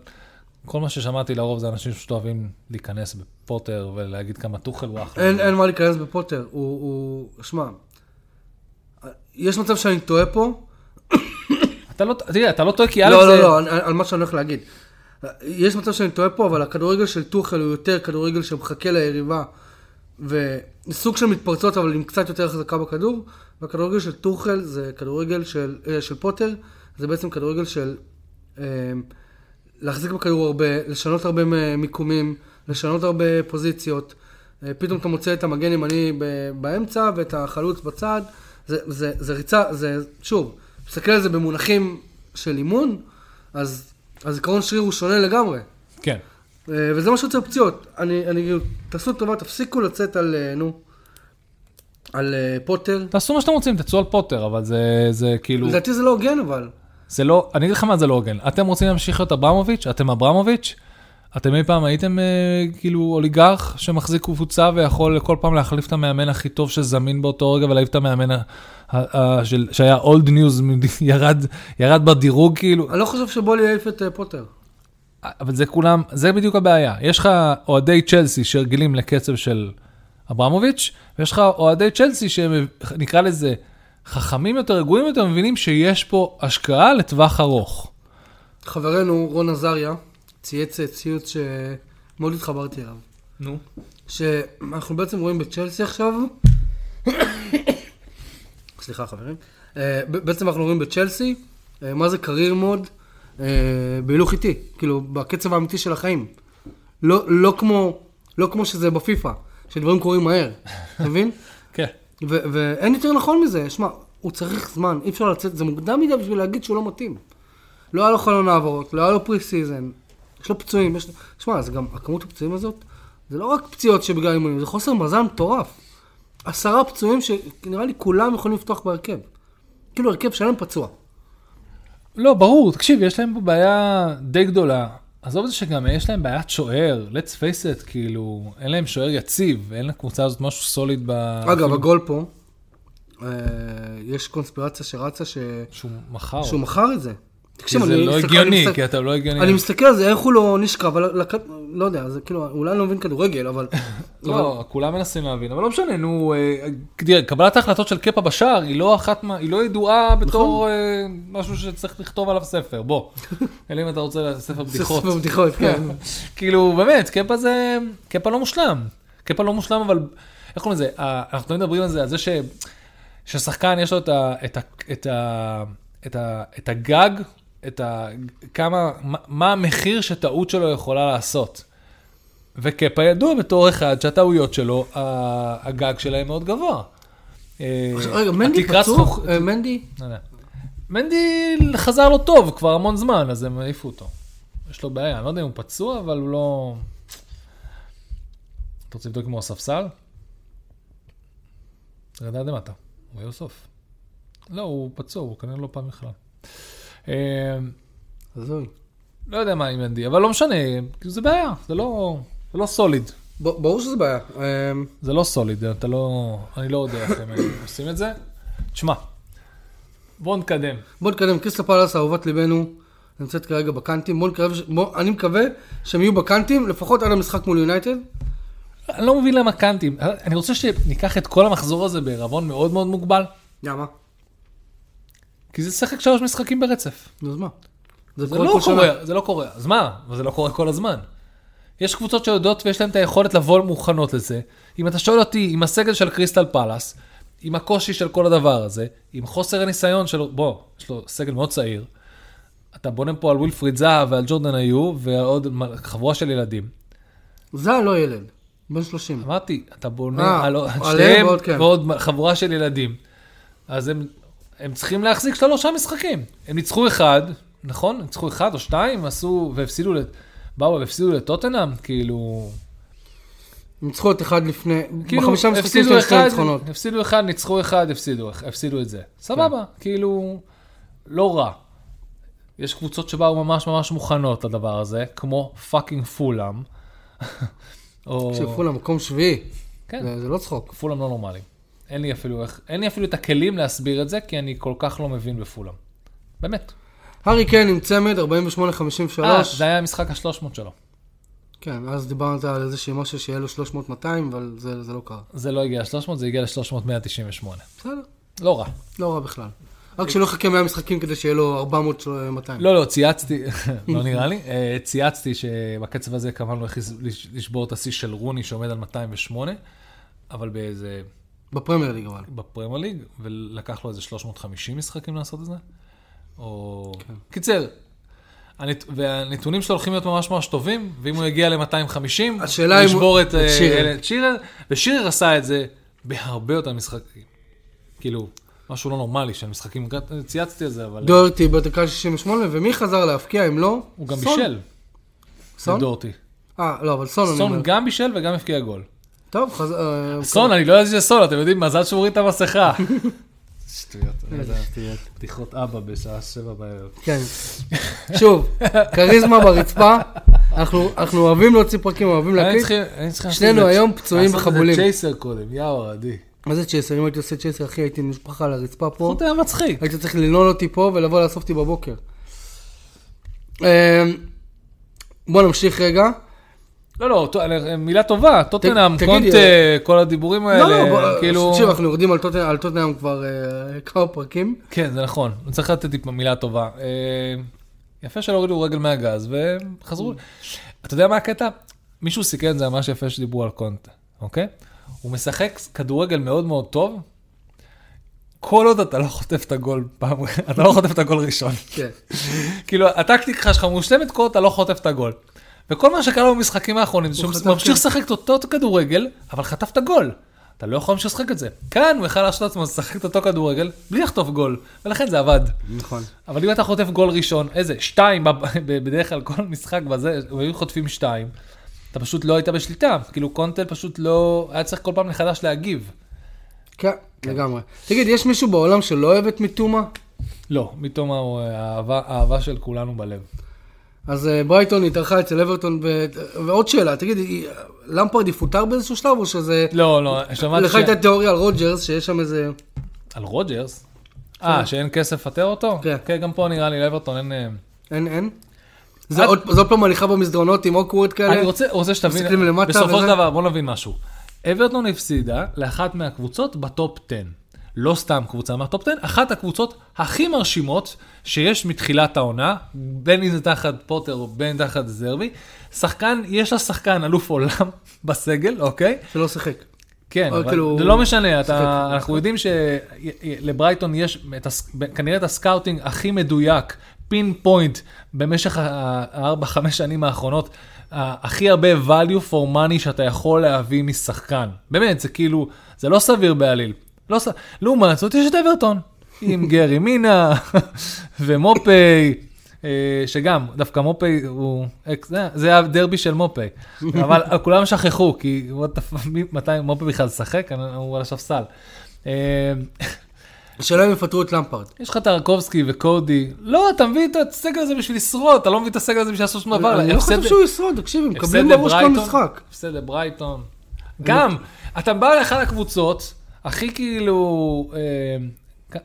כל מה ששמעתי לרוב זה אנשים שפשוט אוהבים להיכנס בפוטר ולהגיד כמה טוחל הוא אחלה. אין, אין מה להיכנס בפוטר. הוא, הוא... שמע, יש מצב שאני טועה פה. אתה לא, תראה, אתה לא טועה כי א' לא, זה... לא, לא, על, על מה שאני הולך להגיד. יש מצב שאני טועה פה, אבל הכדורגל של טוחל הוא יותר כדורגל שמחכה ליריבה, וסוג של מתפרצות, אבל עם קצת יותר החזקה בכדור, והכדורגל של טוחל זה כדורגל של, אה, של פוטר, זה בעצם כדורגל של אה, להחזיק בכדור הרבה, לשנות הרבה מ- מיקומים, לשנות הרבה פוזיציות. אה, פתאום אתה מוצא את המגן ימני ב- באמצע ואת החלוץ בצד. זה, זה, זה ריצה, זה, שוב, תסתכל על זה במונחים של אימון, אז הזיכרון שריר הוא שונה לגמרי. כן. אה, וזה מה שיוצר פציעות. אני, אני, תעשו טובה, תפסיקו לצאת על, אה, נו, על אה, פוטר. תעשו מה שאתם רוצים, תצאו על פוטר, אבל זה, זה כאילו, לדעתי זה לא הוגן אבל. זה לא, אני אגיד לך מה זה לא הוגן. אתם רוצים להמשיך להיות אברמוביץ', אתם אברמוביץ', אתם אי פעם הייתם אה, כאילו אוליגרך שמחזיק קבוצה ויכול כל פעם להחליף את המאמן הכי טוב שזמין באותו רגע ולהעיף את המאמן ה- ה- ה- של- שהיה אולד ניוז, ירד, ירד בדירוג כאילו, אני לא חושב שבולי העיף את אה, פוטר. אבל זה כולם, זה בדיוק הבעיה. יש לך אוהדי צ'לסי שרגילים לקצב של אברמוביץ', ויש לך אוהדי צ'לסי שהם, נקרא לזה, חכמים יותר, רגועים יותר, מבינים שיש פה השקעה לטווח ארוך. חברנו רון עזריה צייץ אה, ציוץ שמאוד התחברתי אליו. נו. שאנחנו בעצם רואים בצ'לסי עכשיו, סליחה חברים, אה, ב- בעצם אנחנו רואים בצ'לסי, אה, מה זה קרייר מוד, אה, בהילוך איטי, כאילו בקצב האמיתי של החיים. לא, לא, כמו, לא כמו שזה בפיפא, שדברים קורים מהר, אתה מבין? כן. ו- ואין יותר נכון מזה, שמע, הוא צריך זמן, אי אפשר לצאת, זה מוקדם מדי בשביל להגיד שהוא לא מתאים. לא היה לו חלון העברות, לא היה לו פרי סיזן, יש לו פצועים, יש... שמע, זה גם, הכמות הפצועים הזאת, זה לא רק פציעות שבגלל אימונים, זה חוסר מזל מטורף. עשרה פצועים שנראה לי כולם יכולים לפתוח בהרכב. כאילו הרכב שלם פצוע. לא, ברור, תקשיב, יש להם פה בעיה די גדולה. עזוב את זה שגם יש להם בעיית שוער, let's face it, כאילו, אין להם שוער יציב, אין לקבוצה הזאת משהו סוליד ב... אגב, הגול פה, אה, יש קונספירציה שרצה ש... שהוא מכר. שהוא מכר את זה. כי תקשיב, זה אני לא מסתכל- הגיוני, אני מסתכל- כי אתה לא הגיוני. אני מסתכל על זה, איך הוא לא נשכב, על הכ- לא יודע, זה כאילו, אולי אני לא מבין כדורגל, אבל... אבל- לא, כולם מנסים להבין, אבל לא משנה, נו, אה, תראה, קבלת ההחלטות של קפה בשער היא לא אחת, מה- היא לא ידועה נכון. בתור אה, משהו שצריך לכתוב עליו ספר, בוא. אלא אם אתה רוצה ספר בדיחות. זה בדיחות, כן. כאילו, באמת, קפה זה, קפה לא מושלם. קפה לא מושלם, אבל איך קוראים לזה? אה, אנחנו תמיד מדברים על זה, על זה ש... ששחקן יש לו את ה... את ה... את ה... את ה... את הגג, את ה... כמה... מה- מה המחיר שטעות שלו יכולה לעשות. וקפה ידוע בתור אחד שהטעויות שלו, ה- הגג שלהם מאוד גבוה. אה, עכשיו, רגע, מנדי התקרה פצוח? זכוכית- אה, מנדי? לא יודע. מנדי חזר לו טוב כבר המון זמן, אז הם העיפו אותו. יש לו בעיה, אני לא יודע אם הוא פצוע, אבל הוא לא... אתה רוצה לבדוק אם הוא הספסל? רדע למטה, הוא יהיה בסוף. לא, הוא פצוע, הוא כנראה לא פעם בכלל. אה, הזוי. לא יודע מה עם מנדי, אבל לא משנה, כאילו זה בעיה, זה לא, זה לא סוליד. ב- ברור שזה בעיה. אמ, זה לא סוליד, אתה לא... אני לא יודע איך הם עושים את זה. תשמע, בואו נתקדם. בוא נתקדם, קריסטל פלאס, אהובת ליבנו, נמצאת כרגע בקאנטים. בוא נקרב, בוא- אני מקווה שהם יהיו בקאנטים, לפחות עד המשחק מול יונייטד. אני לא מבין למה קאנטים. אני רוצה שניקח את כל המחזור הזה בעירבון מאוד מאוד מוגבל. למה? כי זה שחק שלוש משחקים ברצף. נו, אז מה? זה לא קורה, זה לא קורה. אז מה? אבל זה לא קורה כל הזמן. יש קבוצות שיודעות ויש להן את היכולת לבוא מוכנות לזה. אם אתה שואל אותי, עם הסגל של קריסטל פלאס, עם הקושי של כל הדבר הזה, עם חוסר הניסיון שלו, בוא, יש לו סגל מאוד צעיר, אתה בונה פה על ווילפריד זהב ועל ג'ורדן היו ועוד מ- חבורה של ילדים. זה לא ילד, בן 30. אמרתי, אתה בונה אה, על עליהם שניהם ועוד כן. ועוד מ- חבורה של ילדים. אז הם, הם צריכים להחזיק שלושה משחקים. הם ניצחו אחד, נכון? הם ניצחו אחד או שתיים, עשו והפסידו, לת- באו והפסידו לטוטנאם, כאילו... ניצחו את אחד לפני, כאילו, בחמישה משחקים הפסידו שלהם שתי אחד, ניצחונות. כן. הפסידו אחד, ניצחו אחד, הפסידו, הפסידו את זה. סבבה, כאילו, לא רע. יש קבוצות שבאו ממש ממש מוכנות לדבר הזה, כמו פאקינג פולאם. או... שילפו למקום שביעי, כן, זה זה לא צחוק. פולאם לא נורמלי. אין לי אפילו איך, אין לי אפילו את הכלים להסביר את זה, כי אני כל כך לא מבין בפולאם. באמת. הארי קיין כן, עם צמד, 48-53. אה, זה היה המשחק ה-300 שלו. כן, אז דיברת על איזה שהיא משהו שיהיה לו 300-200, אבל זה זה לא קרה. זה לא הגיע ל-300, זה הגיע ל-398. בסדר, לא רע. לא רע בכלל. רק שלא יחכה 100 משחקים כדי שיהיה לו אה, 400-200. לא, לא, צייצתי, לא נראה לי, אה, צייצתי שבקצב הזה כמובן לא הכריז לשבור את השיא של רוני שעומד על 208, אבל באיזה, בפרמייר ליג אבל. בפרמייר ליג, ולקח לו איזה 350 משחקים לעשות את זה. או... קיצר, הנט... והנתונים שלו הולכים להיות ממש ממש טובים, ואם הוא יגיע ל-250, השאלה אם הוא- ישבור את, את אה, שירר. את שירר, ושירר עשה את זה בהרבה יותר משחקים. כאילו, משהו לא נורמלי של משחקים, צייצתי על זה, אבל דוארטי בדקה 68, ומי חזר להפקיע אם לא? הוא גם סון. בישל, סון? דורטי. אה, לא, אבל סון אני אומר. סון גם בישל וגם הבקיע גול. טוב, אה, חזר... סון, אני לא יודע שזה סון, אתם יודעים, מזל שהוא הוריד את המסכה. שטויות, אני יודע. בדיחות אבא בשעה שבע בערב. כן. שוב, כריזמה ברצפה, אנחנו- אנחנו אוהבים להוציא פרקים, אוהבים היינו להקליט. צריכים- היינו צריכים לעשות שנינו את זה- היום פצועים לעשות וחבולים. איזה צ'ייסר קודם, יא אוהדי. מה זה צ'ייסר? אם הייתי עושה צ'ייסר, אחי, הייתי נשפך על הרצפה פה. פחות היה מצחיק. היית צריך לנעול אותי פה ולבוא לאסוף אותי בבוקר. אה, בוא נמשיך רגע. לא, לא, טו- אני- מילה טובה, טוטנאם, תגידי, קונטה, כל הדיבורים לא, לא, האלה, בוא- כאילו... תקשיב, אנחנו יורדים על טוטנ- על טוטנאם כבר אה, כמה פרקים. כן, זה נכון, צריך לתת טיפה מילה טובה. אה, יפה שלא הורידו רגל מהגז וחזרו. אתה יודע מה הקטע? מישהו סיכן את זה ממש יפה שדיברו על קונטה, אוקיי? הוא משחק כדורגל מאוד מאוד טוב, כל עוד אתה לא חוטף את הגול פעם, אתה לא חוטף את הגול ראשון. כן. כאילו, הטקטיקה שלך מושלמת כל עוד אתה לא חוטף את הגול. וכל מה שקרה לו במשחקים האחרונים, זה שהוא חטף, ממשיך כן. לשחק את אותו כדורגל, אבל חטף את הגול. אתה לא יכול להמשיך לשחק את זה. כאן הוא יכל להרשות לעצמו לשחק את אותו כדורגל בלי לחטוף גול, ולכן זה עבד. נכון. אבל אם אתה חוטף גול ראשון, איזה, שתיים, ב- ב- בדרך כלל כל משחק בזה, היו חוטפים שתיים, אתה פשוט לא היית בשליטה. כאילו קונטל פשוט לא, היה צריך כל פעם מחדש להגיב. כן, לגמרי. תגיד, יש מישהו בעולם שלא אוהב את מיטומה? לא, מתום הוא האהבה, האהבה של כולנו בלב. אז אה, ברייטון התארחה אצל אברטון, ו- ועוד שאלה, תגיד, היא- למפרד יפוטר באיזשהו שלב, או שזה... לא, לא, שמעתי לך ש... הייתה תיאוריה על רוג'רס, שיש שם איזה... על רוג'רס? אה, שאין כסף לפטר אותו? כן. כן, גם פה נראה לי לאברטון אין... אה, אין, אין? זה את- עוד זאת פעם הליכה במסדרונות עם אוקוורד כאלה? אני רוצה, רוצה שתבין, כן, מסתכלים למטה בסופו של וזה- דבר, בוא נבין משהו. אברטון הפסידה לאחת מהקבוצות בטופ 10. לא סתם קבוצה מהטופ 10, אחת הקבוצות הכי מרשימות שיש מתחילת העונה, בין אם זה תחת פוטר או בין תחת זרבי. שחקן, יש לה שחקן אלוף עולם בסגל, אוקיי? שלא שיחק. כן, או אבל כאילו- זה לא משנה, אתה, שיחק. אנחנו יודעים שלברייטון יש את הס... כנראה את הסקאוטינג הכי מדויק, פין פוינט, במשך הארבע-חמש שנים האחרונות, ה- הכי הרבה value for money שאתה יכול להביא משחקן. באמת, זה כאילו, זה לא סביר בעליל. לא ס... לעומת זאת, יש את אברטון, עם גרי מינה ומופי. אה, שגם, דווקא מופי הוא, אקס- זה- זה הדרבי של מופי, אבל כולם שכחו, כי what the fuck, מי- מתי מופי בכלל שחק, הוא על הספסל. אה, השאלה אם יפטרו את למפרד. יש לך טרקובסקי וקודי, לא, אתה מביא את הסגל הזה בשביל לשרוד, אתה לא מביא את הסגל הזה בשביל לעשות שום דבר. אני לא הפסד- חושב שהוא ישרוד, תקשיב, הם הפסד מקבלים בראש כל לברייטון- משחק. הפסד לברייטון. גם, אתה בא לאחת הקבוצות, הכי כאילו, אה, כ-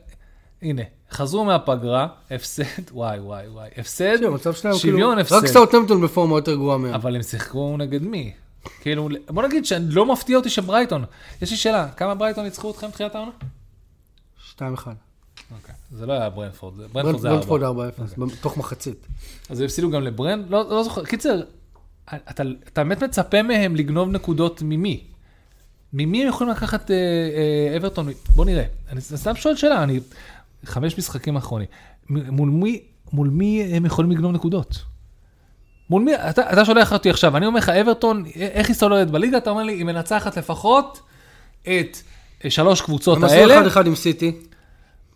הנה, חזרו מהפגרה, הפסד, וואי וואי וואי, הפסד, תקשיב, המצב שלהם הוא כאילו... שוויון רק הפסד, סאוטהמפטון בפורמה יותר גרועה מהם. אבל הם שיחקו נגד מי? כאילו, בוא נגיד שלא מפתיע אותי שברייטון, יש לי שאלה, כמה ברייטון ניצחו אתכם בתחילת העונה? 2-1. אוקיי. זה לא היה ברנפורד, זה- ברנפורד זה ארבע. אוקיי. ברנדפורד 4-0, תוך מחצית. אז הפסידו גם לברן, לא, לא זוכר, קיצר, אתה, אתה באמת מצפה מהם לגנוב נקודות ממי? ממי הם יכולים לקחת אה, אה, אברטון? בוא נראה, אני ס- סתם שואל שאלה, אני, חמש משחקים אחרונים, מ- מול מי, מול מי הם יכולים לגנוב נקודות? מול מי, אתה, אתה שולח אותי עכשיו, אני אומר לך, אברטון, א- איך היא סוללת בליגה? אתה אומר לי, היא מנצחת לפחות את אה, שלוש קבוצות הם עשו האלה. 1-1 עם סיטי. אוקיי.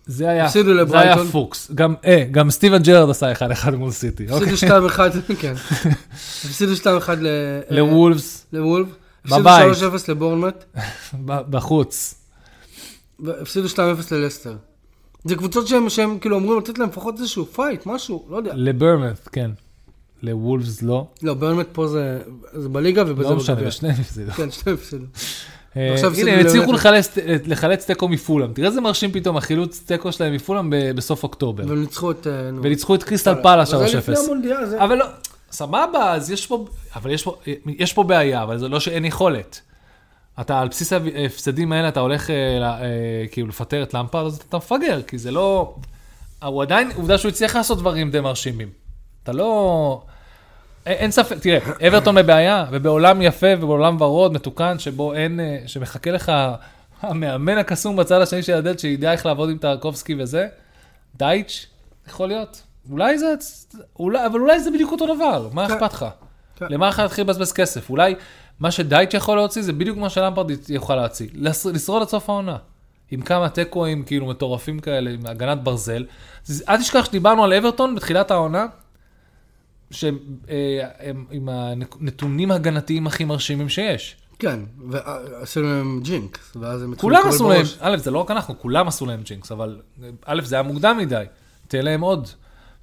זה היה, הפסידו זה היה לברייטון. פוקס. גם, אה, גם סטיבן ג'רד עשה 1-1 מול סיטי. אוקיי. הפסידו 2-1, כן. הפסידו 2-1 ל- אה, לוולפס, לוולף. הפסידו בבית. 3-0 לבורנמט. ב- בחוץ. והפסידו 2-0 ללסטר. זה קבוצות שהם, שהם כאילו אמורים לתת להם לפחות איזשהו פייט, משהו, לא יודע. לברמת, כן. לוולפס לא. לא, באמת פה זה, זה בליגה ובזה לא משנה, בגביע. בשניהם הפסידו. כן, שניהם הפסידו. אה, עכשיו הפסידו הנה, הם הצליחו לברנט. לחלץ- לחלץ תיקו מפולאם. תראה איזה מרשים פתאום, החילוץ תיקו שלהם מפולאם ב- בסוף אוקטובר. והם ניצחו את... אה, נו. וניצחו את קריסטל פאלה 3-0. אבל זה לפני המונדיאל, זה... אבל לא, סבבה, אז יש פה, אבל יש פה, יש פה בעיה, אבל זה לא שאין יכולת. אתה על בסיס ההפסדים האלה, אתה הולך אה, ל- אה, כאילו לפטר את למפרד, אז אתה מפגר, כי זה לא... הוא עדיין, עובדה שהוא הצליח לעשות דברים די מרשימים. אתה לא... א- אין ספק, תראה, אברטון בבעיה, ובעולם יפה ובעולם ורוד, מתוקן, שבו אין, אה, שמחכה לך המאמן הקסום בצד השני של הדלת, שידע איך לעבוד עם טרקובסקי וזה, דייץ', יכול להיות. אולי זה, אולי, אבל אולי זה בדיוק אותו דבר, מה כן. אכפת לך? כן. למה לך להתחיל לבזבז כסף? אולי מה שדייץ' יכול להוציא זה בדיוק מה שלמפרד יוכל להוציא, לס- לשרוד עד סוף העונה. עם כמה תיקואים כאילו מטורפים כאלה, עם הגנת ברזל. אז אל תשכח שדיברנו על אברטון בתחילת העונה, שהם אה, הם עם הנתונים הגנתיים הכי מרשימים שיש. כן, ועשינו להם ג'ינקס, ואז הם התחילו כולם לקבל עשו להם, בראש. א', זה לא רק אנחנו, כולם עשו להם ג'ינקס, אבל א', זה היה מוקדם מדי, תהיה להם עוד.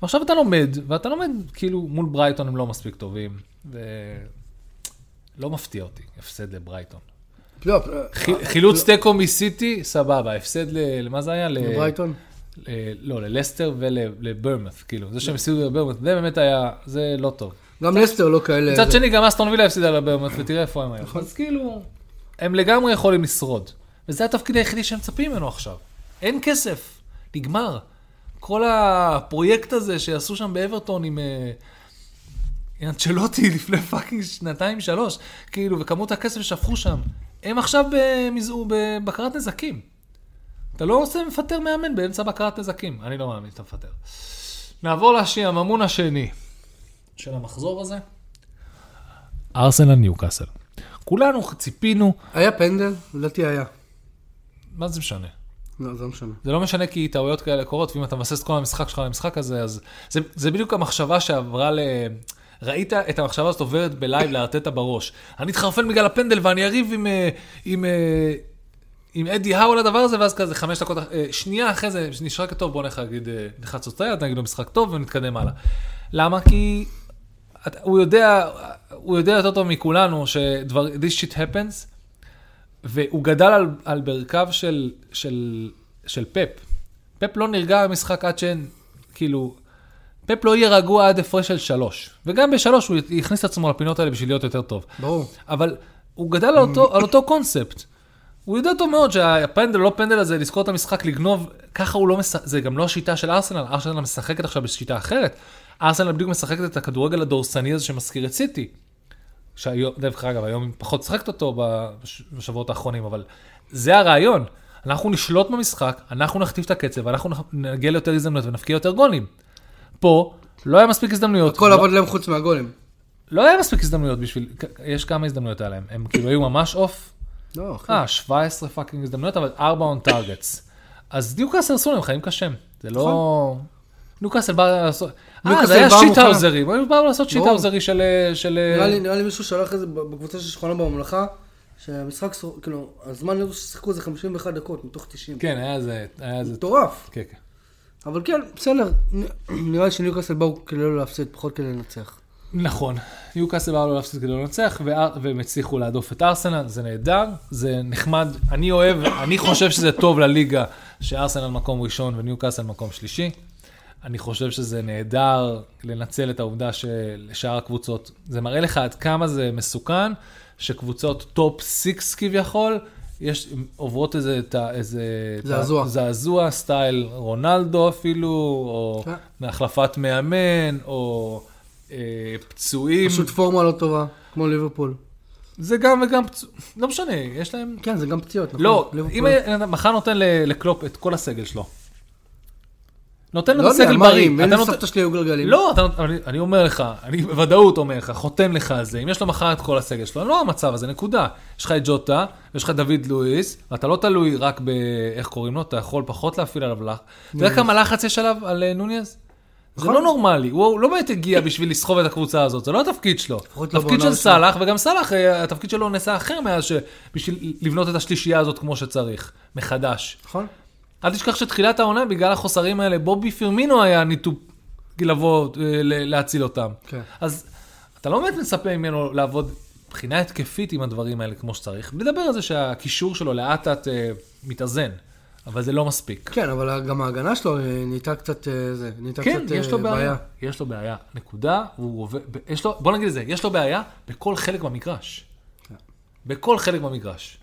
ועכשיו אתה לומד, ואתה לומד, כאילו, מול ברייטון הם לא מספיק טובים, ולא מפתיע אותי, הפסד לברייטון. לא, חיל- חילוץ תיקו מסיטי, סבבה, הפסד ל... למה זה היה? ל- אה, ברייטון? אה, ל- לא, ללסטר ולברמת, כאילו, זה שהם הפסידו לברמת, זה באמת היה, זה לא טוב. גם לסטר לא כאלה... מצד זה- שני, גם אסטון וילה הפסידה לברמת, ותראה איפה הם היום. אז כאילו, הם לגמרי יכולים לשרוד. וזה התפקיד היחידי שהם מצפים ממנו עכשיו. אין כסף, נגמר. כל הפרויקט הזה שעשו שם באברטון עם... אה, עם אנצ'לוטי לפני פאקינג שנתיים, שלוש, כאילו, וכמות הכסף ששפכו שם, הם עכשיו במזעור, בבקרת נזקים. אתה לא עושה מפטר מאמן באמצע בקרת נזקים. אני לא מאמין שאתה מפטר. נעבור לשעממון השני של המחזור הזה. ארסנל ניוקאסל. כולנו ציפינו, היה פנדל? לדעתי היה. מה זה משנה? לא, זה לא משנה. זה לא משנה כי טעויות כאלה קורות, ואם אתה מבסס את כל המשחק שלך על המשחק הזה, אז זה, זה בדיוק המחשבה שעברה ל... ראית את המחשבה הזאת עוברת בלייב לארטטה בראש. אני אתחרפן בגלל הפנדל ואני אריב עם, אה, עם, אה, עם אדי האו על הדבר הזה, ואז כזה חמש דקות, אה, שנייה אחרי זה, נשאר כטוב, בוא נלך להגיד, אה, נלחץ אותה, נגיד לו משחק טוב ונתקדם הלאה. למה? כי אתה- הוא יודע, הוא יודע יותר טוב מכולנו שדבר, this shit happens, והוא גדל על, על ברכיו של, של, של פפ. פפ לא נרגע במשחק עד שאין, כאילו, פפ לא יהיה רגוע עד הפרש של שלוש. וגם בשלוש הוא יכניס את עצמו לפינות האלה בשביל להיות יותר טוב. ברור. אבל הוא גדל על אותו, על אותו קונספט. הוא יודע טוב מאוד שהפנדל, לא פנדל הזה, לזכור את המשחק, לגנוב, ככה הוא לא משחק, זה גם לא השיטה של ארסנל, ארסנל משחקת עכשיו בשיטה אחרת. ארסנל בדיוק משחקת את הכדורגל הדורסני הזה שמזכיר את סיטי. שהיום, דרך אגב, היום היא פחות שחקת אותו בש- בשבועות האחרונים, אבל זה הרעיון. אנחנו נשלוט במשחק, אנחנו נכתיב את הקצב, אנחנו נ- נגיע ליותר הזדמנויות ונפקיע יותר גולים. פה לא היה מספיק הזדמנויות. הכל לא- עבד להם חוץ מהגולים. לא היה מספיק הזדמנויות בשביל, יש כמה הזדמנויות היה להם, הם כאילו היו ממש אוף, לא, אחי. אה, 17 פאקינג הזדמנויות, אבל 4 on targets. אז ניוקאסל עשו להם חיים קשים, זה לא... נכון. ניוקאסל בא לעשות, אה, ניוקאסל זה היה בא שיט האוזרי, הם באו לעשות שיט ברור. האוזרי של... אה, של, אה, נראה לי, נראה לי מישהו שלח את זה בקבוצה של שולחן בממלכה, שהמשחק, סור- כאילו, הזמן נטו ששיחקו זה 51 דקות מתוך 90. כן, היה איזה, היה איזה... מטורף. כן, כן. אבל כן, בסדר, נ- נראה לי שניוקאסל באו כדי לא להפסיד, פחות כדי לנצח. נכון, ניוקאסל באו לא להפסיד כדי לא לנצח, וה- והם הצליחו להדוף את ארסנל, זה נהדר, זה נחמד, אני אוהב, אני חושב שזה טוב לליגה שארסנל מקום ראשון וניוקאסל מקום שלישי. אני חושב שזה נהדר לנצל את העובדה שלשאר הקבוצות, זה מראה לך עד כמה זה מסוכן, שקבוצות טופ סיקס כביכול יש, הן עוברות איזה, את ה- איזה... את ה- זעזוע. זעזוע, סטייל רונלדו אפילו, או כן. מהחלפת מאמן, או אה, פצועים. פשוט פורמה לא טובה, כמו ליברפול. זה גם וגם פצועים, לא משנה, יש להם... כן, זה גם פציעות, נכון? לא, אם ליברפול. היה- מחר נותן ל- לקלופ את כל הסגל שלו. נותן לו לא את יודע, הסגל בריא. מרים, אין אתה לי נותן- סבתא שלי היו גלגלים. לא, אתה, אני, אני אומר לך, אני בוודאות אומר לך, חותם לך על זה, אם יש לו מחר את כל הסגל שלו, לא המצב הזה, נקודה. יש לך את ג'וטה, יש לך את דוד לואיס, ואתה לא תלוי רק ב... איך קוראים לו, אתה יכול פחות להפעיל עליו לחץ. אתה יודע כמה לחץ יש עליו, על אה, נוניז? זה נכון. לא נורמלי, הוא הוא לא באמת הגיע בשביל לסחוב את הקבוצה הזאת, זה לא התפקיד שלו. לפחות לא תפקיד של בעונה הראשונה. סאלח, וגם סאלח, אה, התפקיד שלו נעשה אחר מאז ש... בשביל לבנות את השלישייה הזאת כמו שצריך, מחדש. נכון? אל תשכח שתחילת העונה, בגלל החוסרים האלה, בובי פירמינו היה ניתוק לבוא אה, ל- להציל אותם. כן. אז אתה לא באמת מצפה ממנו לעבוד מבחינה התקפית עם הדברים האלה כמו שצריך. לדבר על זה שהקישור שלו לאט לאט אה, מתאזן, אבל זה לא מספיק. כן, אבל גם ההגנה שלו אה, נהייתה קצת, אה, זה, נהייתה כן, קצת יש אה, לו בעיה. יש לו בעיה, נקודה. הוא עובד, ב- יש לו, בוא נגיד את זה, יש לו בעיה בכל חלק במגרש. כן. בכל חלק במגרש.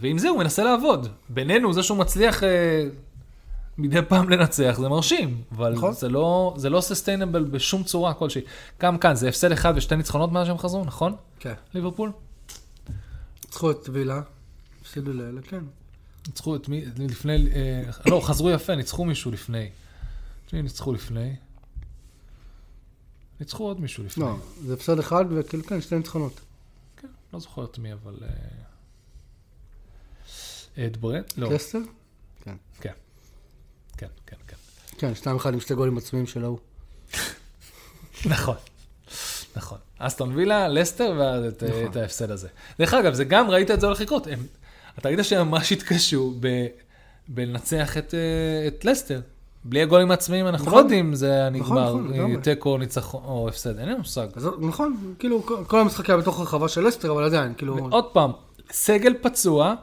ועם זה הוא מנסה לעבוד. בינינו, זה שהוא מצליח אה, מדי פעם לנצח, זה מרשים. אבל נכון. זה לא, זה לא סוסטיינבל בשום צורה כלשהי. גם כאן, זה הפסד אחד ושתי ניצחונות מאז שהם חזרו, נכון? כן. ליברפול? ניצחו את וילה, הפסידו לאלה, כן. ניצחו את מי, לפני, אה, לא, חזרו יפה, ניצחו מישהו לפני. את מי ניצחו לפני? ניצחו עוד מישהו לפני. לא, זה הפסד אחד, וכאילו, כן, שתי ניצחונות. כן, לא זוכר את מי, אבל... אה, את ברט? לא. קסטר? כן. כן, כן, כן. כן, שתיים אחד עם שתי גולים עצמיים של ההוא. נכון. נכון. אסטון וילה, לסטר ואת נכון. את ההפסד הזה. דרך אגב, זה גם, ראית את זה הולך לקרות. הם, אתה ראית שהם ממש התקשו ב, בלנצח את, אה, את לסטר. בלי הגולים העצמיים אנחנו נכון. לא יודעים אם זה היה נכון, נגמר, נכון, אה, לגמרי. תיקו, ניצחון או הפסד, אין לנו מושג. אז נכון, כאילו, כל- כל המשחק היה בתוך הרחבה של לסטר, אבל עדיין, כאילו... עוד פעם, סגל פצוע,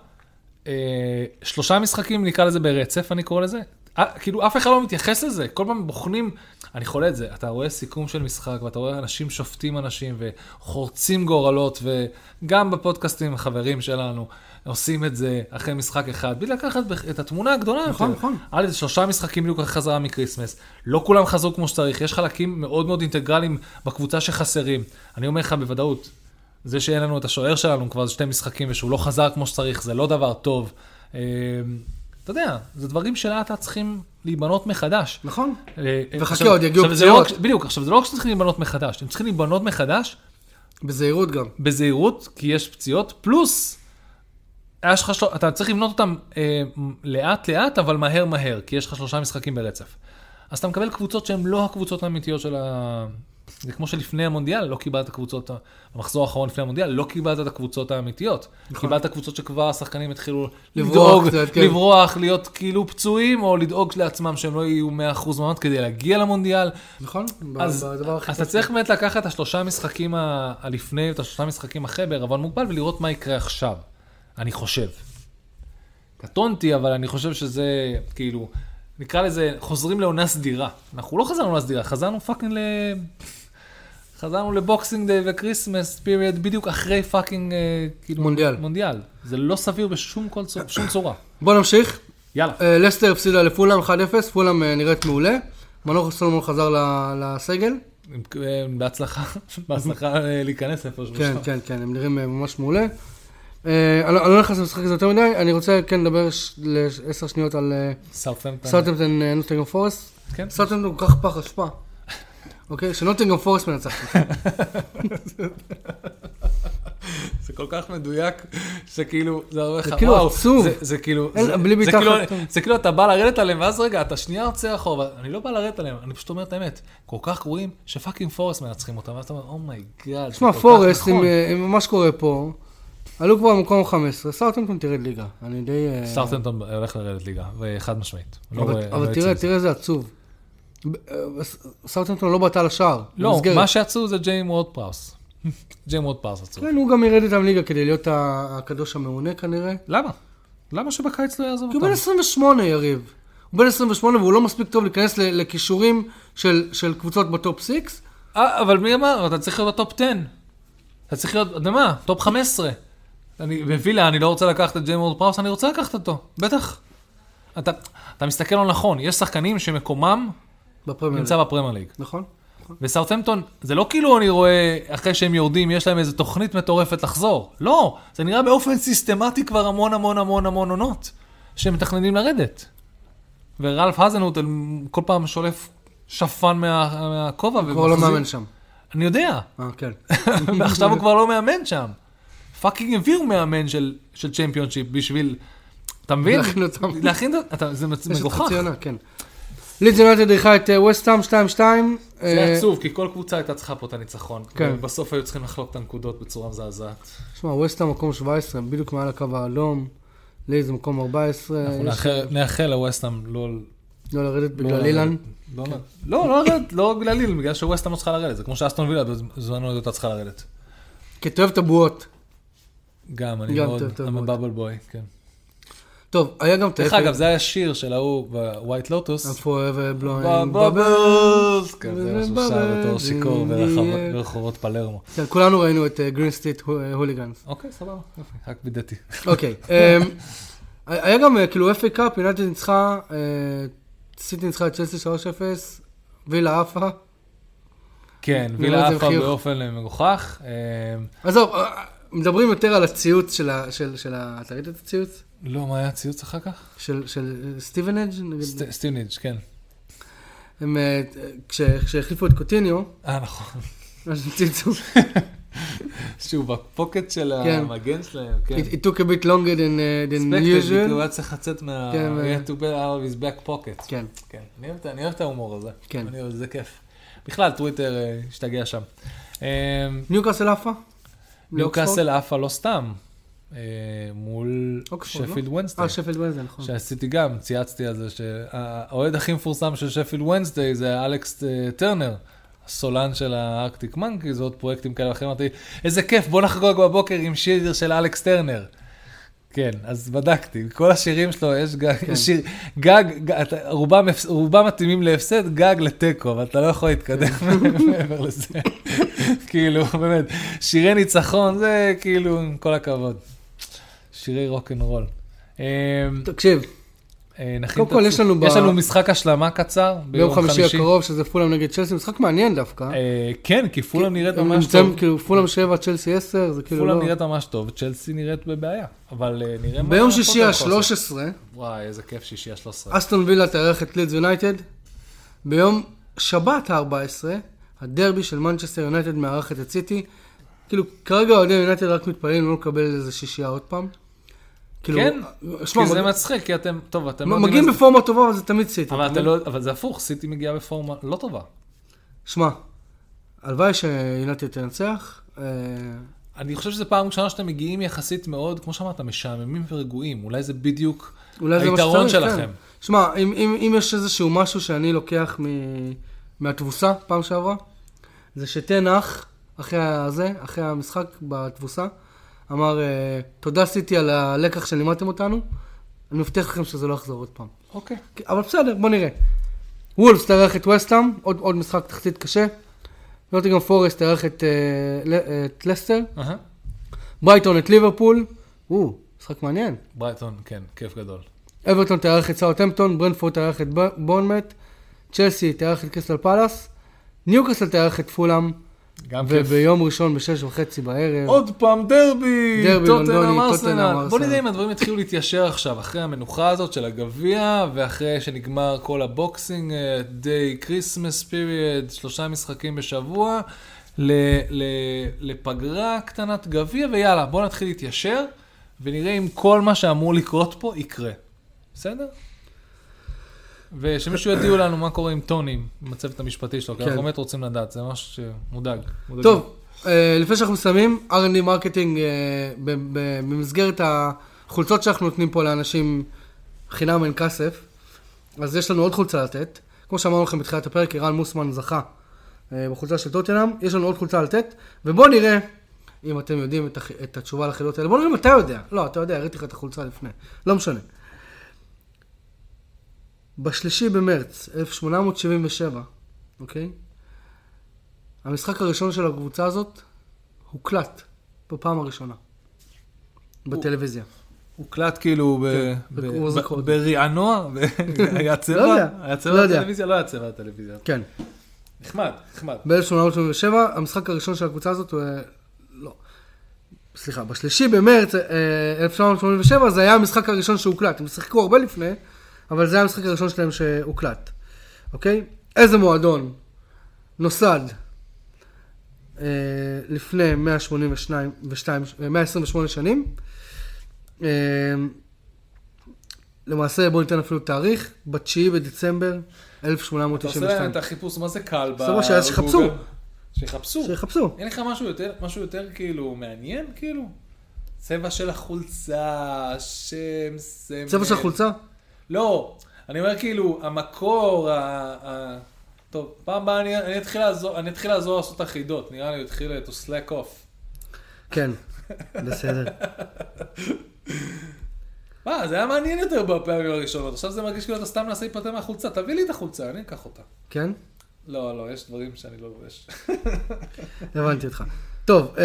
אה, שלושה משחקים נקרא לזה ברצף, אני קורא לזה. אה, כאילו אף אחד לא מתייחס לזה, כל פעם בוחנים, אני חולה את זה, אתה רואה סיכום של משחק ואתה רואה אנשים שופטים אנשים וחורצים גורלות וגם בפודקאסטים החברים שלנו עושים את זה אחרי משחק אחד, בלי לקחת בח- את התמונה הגדולה נכון, יותר. נכון. היה לזה שלושה משחקים בדיוק אחרי חזרה מקריסמס, לא כולם חזרו כמו שצריך, יש חלקים מאוד מאוד אינטגרליים בקבוצה שחסרים. אני אומר לך בוודאות, זה שאין לנו את השוער שלנו כבר זה שתי משחקים ושהוא לא חזר כמו שצריך, זה לא דבר טוב. אה, אתה יודע, זה דברים שלאט לאט צריכים להיבנות מחדש. נכון. אה, אה, וחכה, עכשיו- עוד יגיעו עכשיו, זה לא רק- פציעות. בדיוק, עכשיו זה לא רק שצריכים להיבנות מחדש, הם צריכים להיבנות מחדש בזהירות גם. בזהירות, כי יש פציעות, פלוס, היה שלך של... אתה צריך לבנות אותם אה, לאט לאט, אבל מהר מהר, כי יש לך שלושה משחקים ברצף. אז אתה מקבל קבוצות שהן לא הקבוצות האמיתיות של ה... זה כמו שלפני המונדיאל, לא קיבלת קבוצות, ה- במחזור האחרון לפני המונדיאל, לא קיבלת את הקבוצות האמיתיות. קיבלת קבוצות שכבר השחקנים התחילו לברוח לדאוג, נכון. קצת, כן. לברוח, להיות כאילו פצועים, או לדאוג לעצמם שהם לא יהיו 100% מעמד כדי להגיע למונדיאל. נכון? ב- אז בדבר הכי אתה טוב. צריך באמת לקחת את השלושה משחקים ה- הלפני ואת השלושה משחקים אחרי בערבון מוגבל ולראות מה יקרה עכשיו, אני חושב. קטונתי, אבל אני חושב שזה, כאילו, נקרא לזה, חוזרים לעונה סדירה. אנחנו לא חזרנו לעונה סדירה, חזרנו פאקינג ל... חזרנו לבוקסינג דיי וכריסמס פיריד בדיוק אחרי פאקינג, אה, כאילו, מונדיאל. מונדיאל. זה לא סביר בשום כל צורה, בשום צורה. בוא נמשיך. יאללה. אה, לסטר הפסידה לפולאם 1-0, פולאם אה, נראית מעולה. מנור סולומון חזר ל- לסגל. אה, בהצלחה, בהצלחה אה, להיכנס איפשהו. כן, כן, כן, הם נראים אה, ממש מעולה. אה, אני לא אני לא נכנס למשחק הזה יותר מדי, אני רוצה כן לדבר לעשר שניות על אה, סאוטהמפטון. סאטמפטון נוטינגרם פורסט. כן. סאטמפטון כל כך פח אשפה. אוקיי? שנוטינגרם פורסט מנצחת. זה כל כך מדויק, שכאילו, זה אומר לך, זה כאילו וואו, עצוב. זה- זה כאילו, אין, זה- בלי זה בעיטה כאילו- אחת. זה כאילו אתה בא לרדת עליהם, ואז רגע, אתה שנייה יוצא אחורה, אני לא בא לרדת עליהם, אני פשוט אומר את האמת, כל כך גרועים, שפאקינג פורסט מנצחים אותם, ואז אתה אומר, "Oh אומייגאד, תשמע, פורסט, נכון. עם אה, עם מה שקורה פה, עלו כבר במקום 15, סארטמפטון תרד ליגה. אני די... אה, סארטנטון הולך לרדת ליגה, וחד משמעית. לא רואה- אבל לא אבל יוצא תראה, מזה. תראה איזה עצוב. סארטמפטון לא בעטה לשער. לא, במסגרת. מה שעשו זה ג'יימ וורד פראוס. ג'יימ וורד פראוס עצוב. כן, הוא גם ירד איתם ליגה כדי להיות ה- הקדוש המעונה כנראה. למה? למה שבקיץ לא יעזוב כי הוא בן אותם? 28, יריב. הוא בן 28 והוא לא מספיק טוב להיכנס ל- לכישורים של, של קבוצות בטופ 6. אה, אבל מי אמר? אתה צריך להיות בטופ 10. אתה צריך להיות, אתה יודע מה? טופ 15. אני בווילה, אני לא רוצה לקחת את ג'יימורד פראוס, אני רוצה לקחת אותו, בטח. אתה, אתה מסתכל לא נכון, יש שחקנים שמקומם בפרמייר נמצא ליג. בפרמייר ליג. נכון? וסאוטהמפטון, זה לא כאילו אני רואה, אחרי שהם יורדים, יש להם איזו תוכנית מטורפת לחזור. לא, זה נראה באופן סיסטמטי כבר המון המון המון המון עונות, שהם מתכננים לרדת. ורלף האזנוט כל פעם שולף שפן מה- מהכובע. כבר לא ומחזיר- מאמן שם. אני יודע, אה, כן. ועכשיו הוא כבר לא מאמן שם. פאקינג הביאו מאמן של, של צ'מפיונשיפ בשביל, אתה מבין? להכין אותם. להכין אותם. אתה- זה מצ- יש עוד מגוחך. חצי עונה, כן. לידס יונייטד אירחה את אה, וסטאם 2-2. זה אה, היה עצוב, כי כל קבוצה הייתה צריכה פה את הניצחון. כן. אה, ובסוף היו צריכים לחלוק את הנקודות בצורה מזעזעת. שמע, וסטהאם מקום 17, בדיוק מעל הקו האדום. לידס מקום 14. אנחנו יש- נאחל- נאחל לווסטהאם לא... לא לרדת לא בגלל לרדת. אילן. כן. לא, לא, לא לרדת, לא בגלל ליל, בגלל שווסטהאם לא צריכה לרדת. זה כמו שאסטון וילה בזמנו הייתה צריכה לרדת. כי אתה אוהב את הבועות. גם, אני גם מאוד, טוב, טוב I'm a מאוד. bubble boy, כן. טוב, אוקיי. היה גם את דרך ה- אגב, זה היה שיר של ההוא בווייט לוטוס. Forever blowing bubble. בבלס, כן, זה מה שהוא שר Bubbles בתור in שיכור the ברחוב- air. ברחובות פלרמו. כן, כולנו ראינו את גרין סטריט הוליגנס. אוקיי, סבבה, יופי, רק בידתי. אוקיי. אמ, היה גם אה, כאילו FA קאפ, יונתן ניצחה, אה, סיטי ניצחה את צ'לסי 3-0, וילה עפה. כן, נו, וילה זה עפה חיוך. באופן אה, מגוחך. אה, עזוב, אה, מדברים יותר על הציוץ של ה... של- של ה- אתה ראית את הציוץ? לא, מה היה הציוץ אחר כך? של- של אה, סטיבן אג' נגיד? סט- סטיניג', כן. הם, אה, כש- כשהחליפו את קוטיניו, אה, נכון. אז הם צייצו, כן. שהוא בפוקט של כן. המגן שלהם, כן. it it took a bit longer than uh, than Expected, כאילו, הוא usual. היה צריך לצאת מה... כן, הוא אה. had to be out of his back pocket. כן. כן, אני אוהב את- אני אוהב את ההומור הזה. כן. אני אוהב, זה כיף. בכלל, טוויטר אה, השתגע שם. אה, ניוקאסל עפה? ניוקאסל עפה לא סתם, אה, מול אוקספורד, לא? שפילד וונסטי. אה, שפלד ווינזל, נכון. שעשיתי גם, צייצתי על זה, שהאוהד הכי מפורסם של שפילד וונסדי זה אלכס אה, טרנר, הסולן של הארקטיק מנקיז ועוד פרויקטים כאלה ואחרים, אמרתי, איזה כיף, בוא נחגוג בבוקר עם שיר של אלכס טרנר. כן, אז בדקתי, כל השירים שלו, יש גג, כן. שיר, גג, גג אתה, רובם, הפס- רובם מתאימים להפסד, גג לתיקו, אבל אתה לא יכול להתקדם מעבר לזה. כאילו, באמת, שירי ניצחון, זה כאילו, עם כל הכבוד. שירי רוקנרול. אמ, תקשיב, אה, נכין קודם את כל, עצמי. יש לנו ב- יש לנו משחק השלמה קצר ביום חמישי הקרוב, שזה פולאם נגד צ'לסי, משחק מעניין דווקא. אה, כן, כי פולאם נראית הם ממש נמצאים, טוב. כאילו, פולאם 7, צ'לסי 10, זה כאילו פולאם לא... נראית ממש טוב, צ'לסי נראית בבעיה. אבל אה, נראה מה... ביום אנחנו שישי אה, יכולים לעשות. ה-13, וואי, איזה כיף שישי ה-13. אסטון וילה תארח את לידס יונייטד. ביום שבת ה-14, הדרבי של מנצ'סטר יונייטד מארחת את סיטי. כאילו, כרגע אוהדי יונייטד רק מתפללים לא לקבל איזה שישייה עוד פעם. כאילו, כן, שמע, כי זה מג- מצחיק, כי אתם... טוב, אתם לא יודעים מגיעים איזה- בפורמה טובה, אבל זה תמיד סיטי. אבל אתה אתם מבין? לא... אבל זה הפוך, סיטי מגיעה בפורמה לא טובה. שמע, הלוואי שיונייטד תנצח. אה, אני חושב שזו פעם ראשונה שאתם מגיעים יחסית מאוד, כמו שאמרת, משעממים ורגועים. אולי זה בדיוק אולי זה מה שצריך, היתרון שלכם. כן. שמע, אם, אם, אם יש איזשהו משהו שאני לוקח מ... מהתבוסה פעם שעברה, זה שתנח, אחרי הזה, אחרי המשחק בתבוסה, אמר, אה, תודה סיטי על הלקח שלימדתם אותנו, אני מבטיח לכם שזה לא יחזור עוד פעם. אוקיי. כן, אבל בסדר, בוא נראה. וולס תארח את וסטאם, עוד, עוד משחק תחתית קשה. נוטיגם פורסט תארח את, אה, ל- את לסטר. אהה. ברייטון את ליברפול. או, משחק מעניין. ברייטון, כן, כיף גדול. אברטון תארח את סאוטהמפטון, ברנפורד תארח את ב- בורנמט, צ'לסי תארח את קריסטל פלאס, ניוקאסל תארח את פולאם, גם כיף. וביום ראשון בשש וחצי בערב. עוד פעם דרבי, כן. דרבי לונדוני, טוטנאם טוטנהאם, ארסנל. בוא ארסנל. נראה אם הדברים יתחילו להתיישר עכשיו, אחרי המנוחה הזאת של הגביע, ואחרי שנגמר כל הבוקסינג, אה, דיי כריסמס פיריד, שלושה משחקים בשבוע, ל- ל- לפגרה קטנת גביע, ויאללה, בוא נתחיל להתיישר, ונראה אם כל מה שאמור לקרות פה יקרה. בסדר? ושמישהו יודיעו לנו מה קורה עם טוני, עם הצוות המשפטי שלו, כי כן. אנחנו באמת רוצים לדעת, זה ממש אה, מודאג. מודאגים. טוב, אה, לפני שאנחנו מסיימים, R&D מרקטינג אה, ב- ב- במסגרת החולצות שאנחנו נותנים פה לאנשים חינם אין כסף, אז יש לנו עוד חולצה לתת. כמו שאמרנו לכם בתחילת הפרק, ערן מוסמן זכה אה, בחולצה של טוטנאם, יש לנו עוד חולצה לתת, ובואו נראה אם אתם יודעים את, הח... את התשובה לחילות האלה. בואו נראה אם אתה יודע. לא, אתה יודע, הראיתי לך את החולצה לפני. לא משנה. בשלישי במרץ 1877, אוקיי? המשחק הראשון של הקבוצה הזאת הוקלט בפעם הראשונה. בטלוויזיה. הוקלט כאילו ב- כן, ב- בקורס ב- הקוד. ברענוע, ב- היה צבע, לא יודע, היה לא צבע יודע. בטלוויזיה, לא היה צבע בטלוויזיה. כן. נחמד, נחמד. ב-1887, המשחק הראשון של הקבוצה הזאת, הוא, אה, לא, סליחה, בשלישי במרץ אה, 1987 זה היה המשחק הראשון שהוקלט. הם שיחקו הרבה לפני, אבל זה היה המשחק הראשון שלהם שהוקלט, אוקיי? איזה מועדון נוסד אה, לפני 182, ושתיים- אה, 128 שנים? אה, למעשה, בואו ניתן אפילו תאריך, ב-9 בדצמבר אתה עושה להם 1892. את החיפוש, מה זה קל ב- סבבה, שאז שיחפשו. בגוגל? שיחפשו. שיחפשו. אין לך משהו יותר, משהו יותר כאילו מעניין, כאילו? צבע של החולצה, שם, סמל. צבע של החולצה? לא, אני אומר כאילו, המקור, ה... ה... טוב, פעם הבאה אני, אני אתחיל לעזור, אני אתחיל לעזור לעשות אחידות, נראה לי הוא התחיל to slack off. כן, בסדר. מה, זה היה מעניין יותר בפעמים הראשונות, עכשיו זה מרגיש כאילו אתה סתם מנסה להיפטר מהחולצה, תביא לי את החולצה, אני אקח אותה. כן? לא, לא, יש דברים שאני לא לובש. הבנתי אותך. טוב,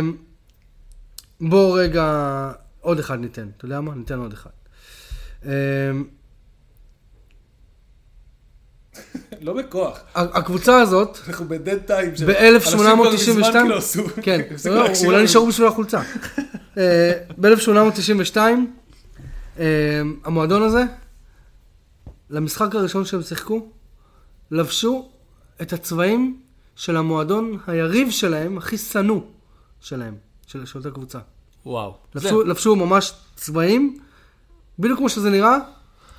אמ, בואו רגע, עוד אחד ניתן. אתה יודע מה? ניתן עוד אחד. אמ, לא בכוח, ה- הקבוצה הזאת, אנחנו בדד טיים. של- אנשים כבר מזמן כאילו עשו- ב-1892, כן, הפסיקו לא, להקשיב אולי לנו. נשארו בשביל החולצה. אה, ב-1892, אה, המועדון הזה, למשחק הראשון שהם שיחקו, לבשו את הצבעים של המועדון היריב שלהם, הכי שנוא שלהם, של של אותה קבוצה. וואו. לבשו, לבשו ממש צבעים, בדיוק כמו שזה נראה,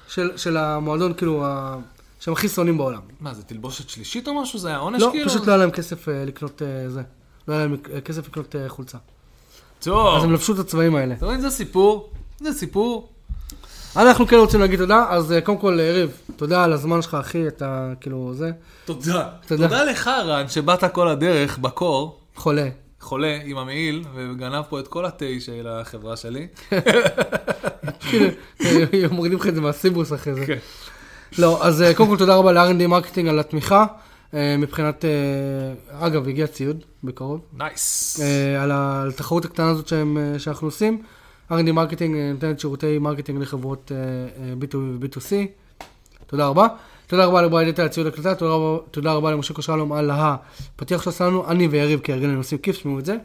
של, של המועדון, כאילו, ה... שהם הכי שונאים בעולם. מה, זה תלבושת שלישית או משהו? זה היה עונש לא, כאילו? פשוט לא היה להם כסף אה, לקנות אה, זה. לא היה להם אה, כסף לקנות אה, חולצה. אז טוב. הם לבשו את הצבעים האלה. אתה מבין, זה סיפור, זה סיפור. אנחנו כן רוצים להגיד תודה, אז אה, קודם כל, אה, יריב, תודה על הזמן שלך, אחי, אתה כאילו זה, תודה. תודה. תודה לך, רן, שבאת כל הדרך בקור, חולה. חולה עם המעיל, וגנב פה את כל התה של החברה שלי. כאילו, אה, מורידים לך את זה מהסיבוס אחרי זה. כן. לא, אז אה, קודם כל תודה רבה ל-R&D מרקטינג על התמיכה. אה, מבחינת, אה, אגב, הגיע ציוד בקרוב. נייס. אה, על ה- על התחרות הקטנה הזאת שהם, אה, שאנחנו עושים. R&D מרקטינג אה, נותנת שירותי מרקטינג לחברות אה, אה, B2B ו-B2C. תודה רבה. תודה רבה לבריידט על הציוד הקלטה, תודה רבה- תודה רבה למשה כושלום על הפתיח שעשה לנו, אני ויריב כהרגלנו עושים כיף, שמעו את זה.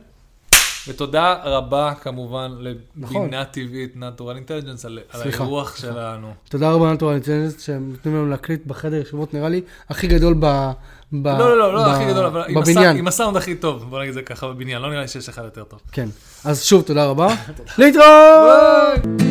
ותודה רבה, כמובן, נכון. לבינה טבעית, נטורל אינטליג'נס, על על סליחה. האירוח שלנו. תודה רבה לנטורל אינטליג'נס שהם נותנים לנו להקליט בחדר ישיבות נראה לי הכי גדול ב... ב- לא, לא, לא, אה, ב- לא הכי גדול, אבל עם הסאונד- בבניין. עם הסאונד הכי טוב, בוא נגיד את זה ככה בבניין, לא נראה לי שיש אחד יותר טוב. כן. אז שוב תודה רבה. להתראות!